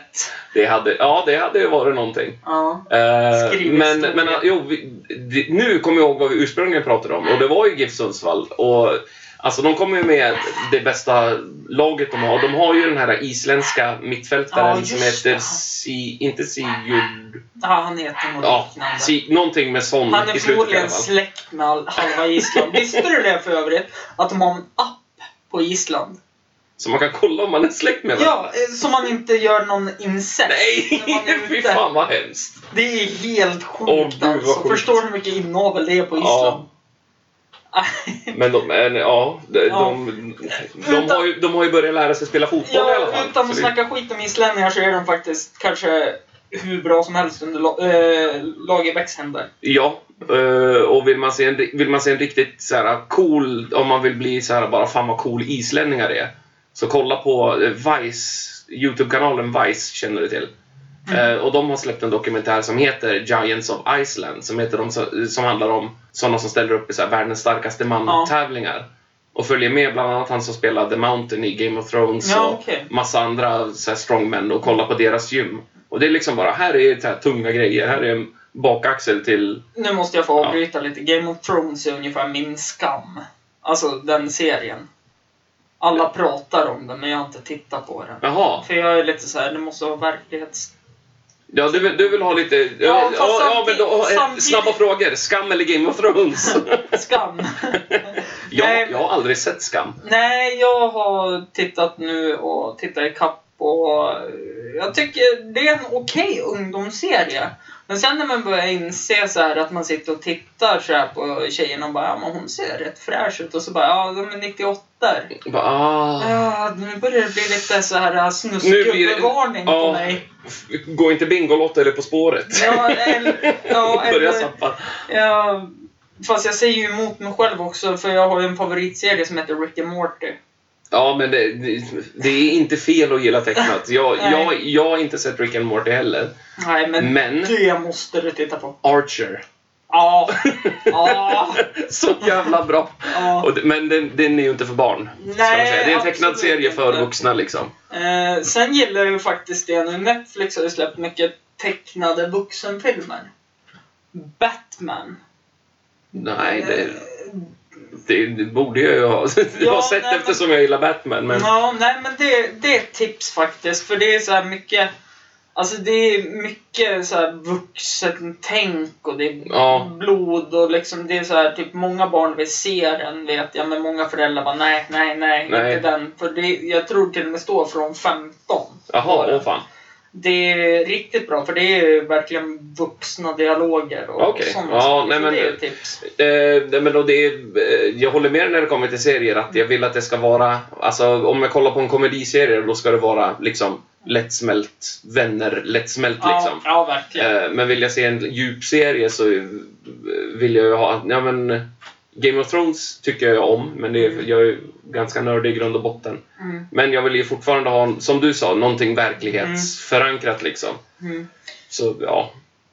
C: Det hade, ja, det hade ju varit någonting.
B: Ja.
C: Eh,
B: Skriv
C: men
B: historia.
C: men jo, vi, det, nu kommer jag ihåg vad vi ursprungligen pratade om och det var ju GIF Sundsvall. Och, alltså, de kommer ju med det bästa laget de har. De har ju den här isländska mittfältaren
B: Ja,
C: som
B: just
C: heter,
B: det.
C: si, inte Sigurd,
B: ja, han heter något
C: ja,
B: liknande.
C: si, någonting med sån
B: Han är
C: i slutet i alla
B: förmodligen
C: fall.
B: släkt med all- halva Island. Visste du det för övrigt? Att de har en app på Island.
C: Så man kan kolla om man är släkt med varandra.
B: Ja, eh, så man inte gör någon incest.
C: Nej,
B: när man är
C: fy
B: ute.
C: fan vad hemskt.
B: Det är helt sjukt
C: Åh, gud, vad
B: alltså.
C: sjukt.
B: Förstår du hur mycket inavel det är på Island?
C: Men de, men, ja, de, de, de, har ju, de har ju börjat lära sig spela fotboll i alla
B: Ja,
C: fall.
B: utan
C: Så
B: att
C: det-
B: snacka skit om islänningar så är de faktiskt kanske hur bra som helst under la- eh, Lagerbäcks händer.
C: Ja, eh, och vill man se en, vill man se en riktigt så här, ah, cool, om man vill bli så här, bara fan vad cool islänningar är. Så kolla på eh, Vice, Youtube-kanalen Vice känner du till.
B: Mm.
C: Eh, och de har släppt en dokumentär som heter Giants of Iceland som, heter de, som- som handlar om sådana som ställer upp i så här, världens starkaste
B: Ja.
C: man-tävlingar. Och följer med bland annat han som spelar The Mountain i Game of Thrones
B: Ja,
C: och
B: okej.
C: massa andra så här, strongmen och kolla på deras gym. Och det är liksom bara, här är så här, tunga grejer. Här är en bakaxel till
B: Nu måste jag få
C: Ja.
B: avbryta lite. Game of Thrones är ungefär min skam. Alltså den serien. Alla pratar om den men jag har inte tittat på den.
C: Jaha,
B: För jag är lite så här, det måste vara verklighets...
C: ja, du, vill- du vill ha lite... Ja,
B: Ja,
C: ja,
B: fast
C: ja, men
B: samtidigt-
C: då, eh,
B: samtidigt-
C: Snabba frågor. Skam eller Game of Thrones?
B: Skam.
C: jag,
B: Nej.
C: jag har aldrig sett Skam.
B: Nej, jag har tittat nu och tittat i kapp och eh, jag tycker det är en okej ungdomsserie. Men sen när man börjar inse så här att man sitter och tittar så här på tjejerna och bara ja, men hon ser rätt fräsch ut och så bara ja, de är 98
C: Jag bara, ah,
B: Ja, nu börjar det bli lite så här snuskgubbevarning på
C: ja.
B: mig.
C: f- Gå inte Bingolotto eller På spåret.
B: Ja, eller, ja,
C: Börja
B: eller,
C: sappa.
B: ja, fast jag säger ju emot mig själv också för jag har ju en favoritserie som heter Rick and Morty.
C: Ja, men det, det, det är inte fel att gilla tecknat. Jag,
B: Nej.
C: jag, jag har inte sett Rick and Morty heller.
B: Nej, men,
C: Men-
B: det måste du titta på.
C: Archer.
B: Ja. Ja.
C: Så jävla bra!
B: ja.
C: Och, det- men den, den är ju inte för barn. ska man
B: Nej,
C: säga. Det är en tecknad
B: absolut
C: serie för
B: inte.
C: vuxna liksom.
B: Eh, sen gillar jag ju faktiskt det nu. Netflix har ju släppt mycket tecknade vuxenfilmer. Batman.
C: Nej, det, det, det borde jag ju ha, jag har
B: Eh. Ja, nej,
C: sett
B: men-
C: eftersom jag gillar Batman. Men...
B: Ja, nej men det, det är ett tips faktiskt. För det är så här mycket... Alltså det är mycket så här vuxen tänk och det är
C: Ja.
B: blod och liksom det är så här typ många barn vill se den vet jag men många föräldrar bara nej, nej, nej,
C: Nej.
B: inte den. För det, jag tror till och med står från 15.
C: Jaha, åh fan.
B: Det är riktigt bra för det är ju verkligen vuxna dialoger och
C: Okej.
B: sånt.
C: Ja, nej,
B: Så
C: men-
B: det är ett tips.
C: Eh, nej, men då det, är- eh, jag håller med när det kommer till serier att jag vill att det ska vara, alltså om jag kollar på en komediserie då ska det vara liksom lättsmält, vänner, lättsmält liksom.
B: Ja, ja, verkligen.
C: Eh, men vill jag se en djup serie så eh, vill jag ju ha, ja men Game of Thrones tycker jag om, men det är,
B: Mm.
C: jag är ju ganska nördig i grund och botten.
B: Mm,
C: Men jag vill ju fortfarande ha, som du sa, någonting verklighetsförankrat liksom.
B: mm.
C: Så ja,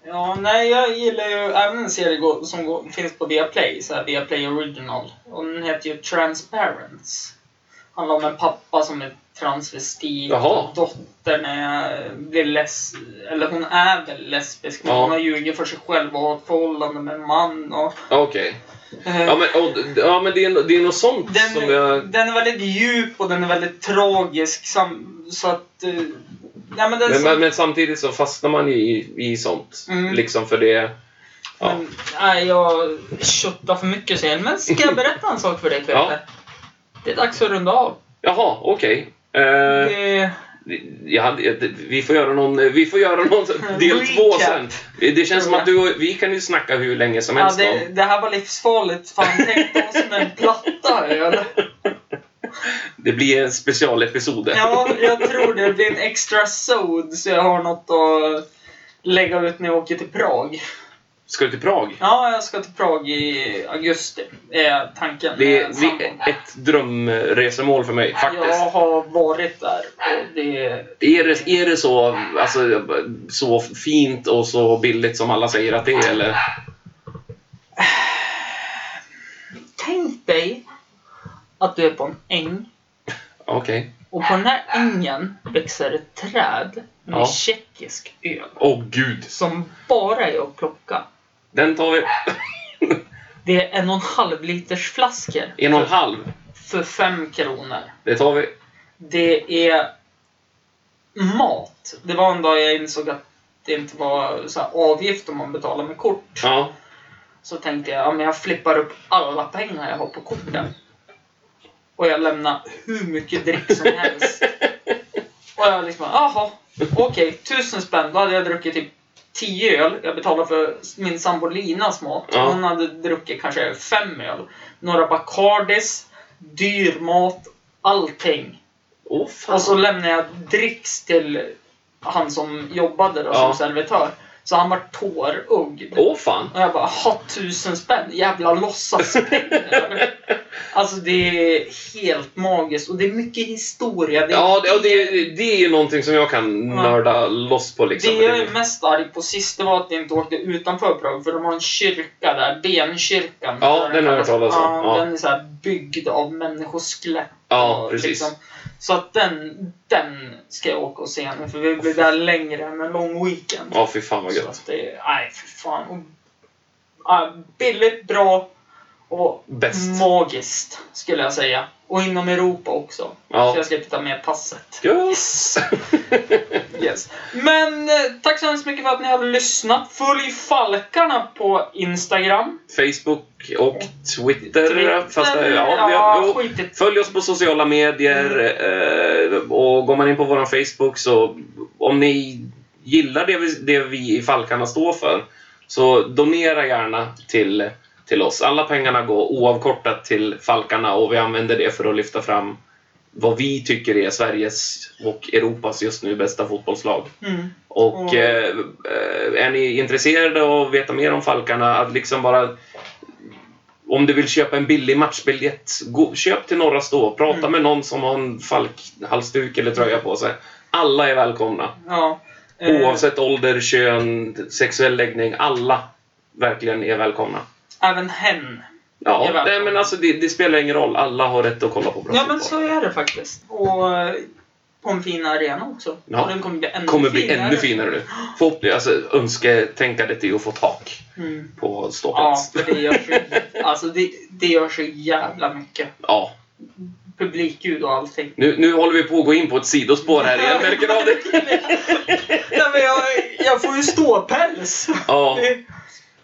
B: Ja, nej, jag gillar ju även en serie gå- som går, finns på Viaplay, så här Viaplay Original. Och den heter ju Transparence. Handlar om en pappa som är transvestit
C: Jaha.
B: och dottern är, blir les, eller hon är väl lesbisk men
C: Ja.
B: hon har ljugit för sig själv och har ett förhållande med en man och...
C: okej.
B: eh,
C: Ja men, och, ja, men det, är, det är något sånt
B: Den,
C: som jag...
B: den är väldigt djup och den är väldigt tragisk. Sam, så att... eh, nej, men den
C: Men,
B: som,
C: men, men samtidigt så fastnar man ju i, i sånt.
B: Alltså- Mm.
C: Liksom för det... Ja.
B: men, nej, jag köttar för mycket sen. Men ska jag berätta en sak för dig Peter? Det är dags att runda av.
C: Jaha, okej. Eh,
B: Det,
C: jag hade- jag- vi får göra någon, vi får göra någon del
B: Recap.
C: två sen. Det känns som
B: Ja.
C: att du och, vi kan ju snacka hur länge som
B: ja,
C: helst
B: det,
C: om.
B: det här var livsfarligt. Fan, tänk dig som en platta öl.
C: Det blir en specialepisod.
B: Ja, jag tror det. Det blir en extra sod så jag har något att lägga ut när jag åker till Prag.
C: Ska du till Prag?
B: Ja, jag ska till Prag i augusti. Är tanken.
C: Det
B: med
C: är, det
B: sambon.
C: är ett drömresemål för mig faktiskt.
B: Jag har varit där och det...
C: Är det, är det så, alltså, så fint och så billigt som alla säger att det är? Eller?
B: Tänk dig att du är på en äng
C: Okej.
B: och på den här ängen växer ett träd med
C: Ja.
B: tjeckisk öl
C: Åh gud.
B: som bara är att plocka.
C: Den tar vi.
B: Det är en och en halv liters flaskor
C: En och en halv.
B: för fem kronor.
C: Det tar vi.
B: Det är mat. Det var en dag jag insåg att det inte var så här avgift om man betalar med kort.
C: Ja.
B: Så tänkte jag, ja men jag flippar upp alla pengar jag har på korten. Och jag lämnar hur mycket drick som helst. Och jag liksom, jaha, okej, tusen spänn. Då hade jag druckit typ 10 öl. Jag betalade för min sambo Linas mat.
C: Ja.
B: Hon hade druckit kanske fem öl. Några Bacardis, dyr mat, allting.
C: Åh fan.
B: Och så lämnade jag dricks till han som jobbade då
C: Ja.
B: som servitör. Så han var tårögd.
C: Åh fan.
B: Och jag bara, ha tusen spänn, jävla låtsaspengar. alltså det är helt magiskt och det är mycket historia. Det,
C: Ja, det, ja, det, det är ju någonting som jag kan nörda loss på liksom.
B: det jag är mest arg på sist det var att jag inte åkte utanför Prag för de har en kyrka där, Benkyrkan.
C: Ja,
B: Där
C: den har jag
B: kallas.
C: hört talas om.
B: Ja,
C: Ja.
B: Den är så här byggd av människoskelett.
C: Ja,
B: och liksom,
C: precis.
B: så att den, den ska jag åka och se nu för vi blir där längre än en lång weekend.
C: Ja, fy fan vad
B: Så
C: gött.
B: att det, nej för fan. Och, ja, billigt, bra och
C: Bäst.
B: magiskt skulle jag säga. Och inom Europa också.
C: Ja.
B: Så jag slipper ta med passet.
C: Yes!
B: Yes. Men eh, tack så hemskt mycket för att ni har lyssnat. Följ Falkarna på Instagram.
C: Facebook och Twitter.
B: Twitter,
C: fast, ja, vi har,
B: ja,
C: jo.
B: skit i-
C: Följ oss på sociala medier eh, och går man in på vår Facebook så om ni gillar det vi, det vi i Falkarna står för så donera gärna till, till oss. Alla pengarna går oavkortat till Falkarna och vi använder det för att lyfta fram vad vi tycker är Sveriges och Europas just nu bästa fotbollslag.
B: Mm.
C: Och
B: Ja.
C: eh, eh, är ni intresserade av att veta mer om Falkarna, att liksom bara... Om du vill köpa en billig matchbiljett, gå, köp till Norra Stå. Prata
B: Mm.
C: med någon som har en Falk-halsduk eller tröja på sig. Alla är välkomna.
B: Ja. Eh,
C: Oavsett ålder, kön, sexuell läggning. Alla verkligen är välkomna.
B: Även hen.
C: Ja,
B: Är välkomna.
C: nej, men alltså det, det spelar ingen roll. Alla har rätt att kolla på bra
B: Ja
C: fotboll.
B: men så är det faktiskt. Och eh, på en fin arena också.
C: Ja.
B: Och den kommer bli ännu
C: kommer bli
B: finare.
C: ännu finare nu. Förhoppningsvis, alltså, önsketänkandet är att få tak
B: Mm.
C: på
B: Ja,
C: ståplats.
B: för det gör så, alltså det, det gör så jävla mycket.
C: ja.
B: Publikljud och allting.
C: Nu, nu håller vi på att gå in på ett sidospår här igen, märker av det?
B: Nej, men jag, jag får ju ståpäls.
C: Ja,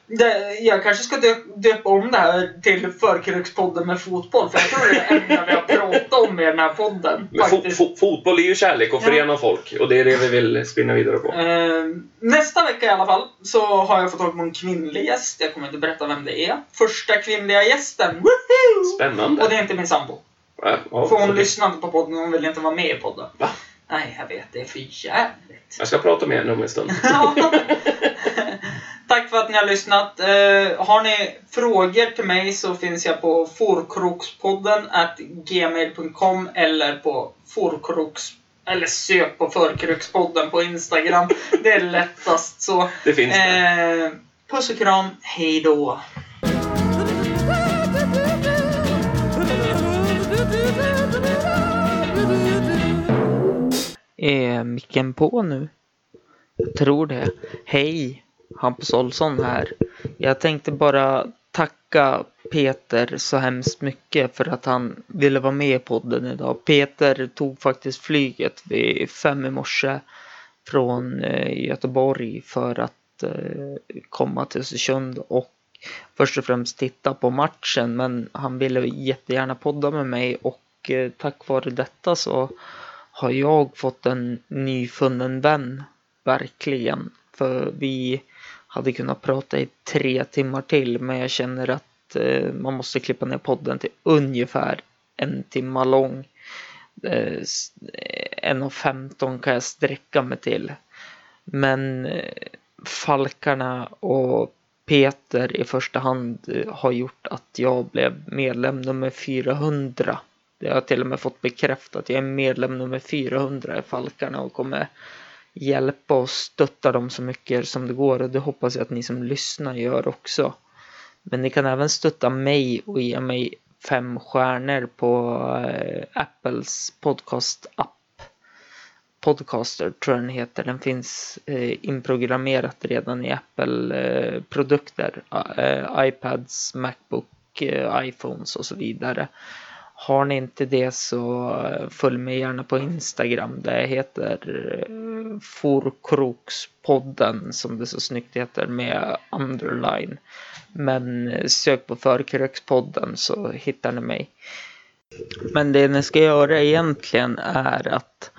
B: Det, jag kanske ska dö- döpa om det här till Förkrökspodden med fotboll. För jag tror det är det enda vi har pratat om i den här podden.
C: men fo-
B: faktiskt.
C: fo- fotboll är ju kärlek och
B: Ja.
C: förenar folk och det är det vi vill spinna vidare på.
B: Eh, nästa vecka i alla fall så har jag fått tag på en kvinnlig gäst. Jag kommer inte berätta vem det är. Första kvinnliga gästen. Woohoo!
C: Spännande.
B: Och det är inte min sambo.
C: Ja, ja,
B: För hon
C: okej.
B: lyssnar inte på podden och hon vill inte vara med i podden.
C: Va?
B: Nej, jag vet. Det är för jävligt.
C: Jag ska prata med henne om en stund.
B: Ja. Tack för att ni har lyssnat. Eh, har ni frågor till mig så finns jag på forkrokspodden at gmail.com eller på forkroks... Eller sök på förkrokspodden på Instagram. Det är lättast så.
C: Det finns det.
B: Eh, puss och kram. Hej då. Är eh, micken på nu? Jag tror det. Hej! Hampus Olsson här. Jag tänkte bara tacka Peter så hemskt mycket för att han ville vara med i podden idag. Peter tog faktiskt flyget vid fem i morse från eh, Göteborg för att eh, komma till Östersund och först och främst titta på matchen men han ville jättegärna podda med mig och eh, tack vare detta så har jag fått en nyfunnen vän. Verkligen. För vi hade kunnat prata i tre timmar till men jag känner att eh, man måste klippa ner podden till ungefär en timma lång. Eh, s- eh, en och femton kan jag sträcka mig till. Men eh, Falkarna och Peter i första hand eh, har gjort att jag blev medlem nummer 400. Det har jag till och med fått bekräftat. Jag är medlem nummer 400 i Falkarna och kommer hjälpa och stötta dem så mycket som det går och det hoppas jag att ni som lyssnar gör också. Men ni kan även stötta mig och ge mig fem stjärnor på eh, Apples podcast-app. Podcaster tror jag den heter. Den finns eh, inprogrammerat redan i Apple-produkter. Eh, iPads, Macbook, eh, iPhones och så vidare. Har ni inte det så eh, följ mig gärna på Instagram där jag heter eh, Forkrokspodden som det så snyggt heter med underline. Men eh, sök på Förkrökspodden så hittar ni mig. Men det ni ska göra egentligen är att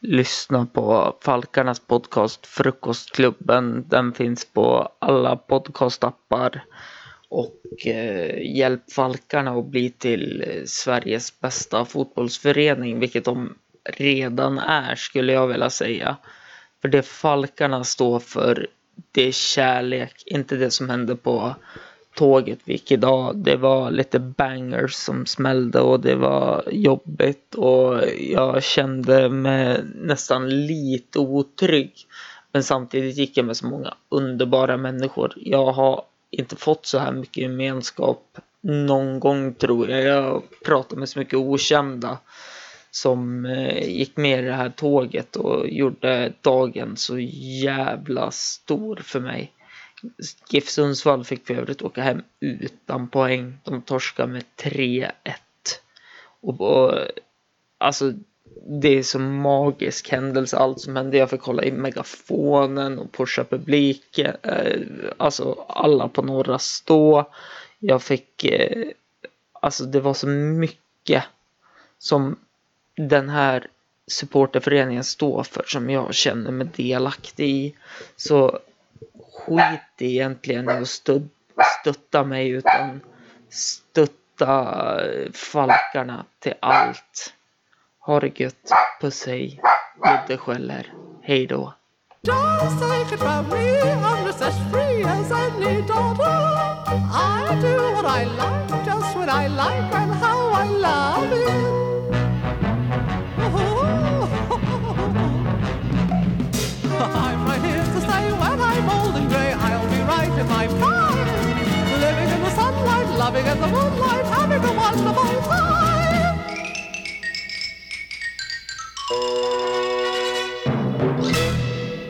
B: lyssna på Falkarnas podcast Frukostklubben. Den finns på alla podcastappar. Och eh, hjälp Falkarna att bli till eh, Sveriges bästa fotbollsförening, vilket de redan är skulle jag vilja säga. För det Falkarna står för, det är kärlek, inte det som hände på tåget vi gick idag. Det var lite bangers som smällde och det var jobbigt och jag kände mig nästan lite otrygg. Men samtidigt gick jag med så många underbara människor. Jag har inte fått så här mycket gemenskap någon gång tror jag. Jag pratade med så mycket okända som eh, gick med i det här tåget och gjorde dagen så jävla stor för mig. GIF Sundsvall fick för övrigt åka hem utan poäng. De torskade med 3-1. Och, och alltså, det är så magisk händelse allt som hände. Jag fick kolla i megafonen och pusha publiken. Eh, alltså alla på Norra Stå. Jag fick, eh, alltså det var så mycket som den här supporterföreningen står för som jag känner mig delaktig i. Så skit egentligen i att stöd, stötta mig utan stötta eh, Falkarna till allt. Ha det gött, puss hej, Ludde skäller, hej då.
A: Just take it from me, I'm just as free as any daughter. I do what I like, just what I like, and how I love it. I'm right here to say when I'm old and grey, I'll be right in my prime. Living in the sunlight, loving in the moonlight, having a wonderful time.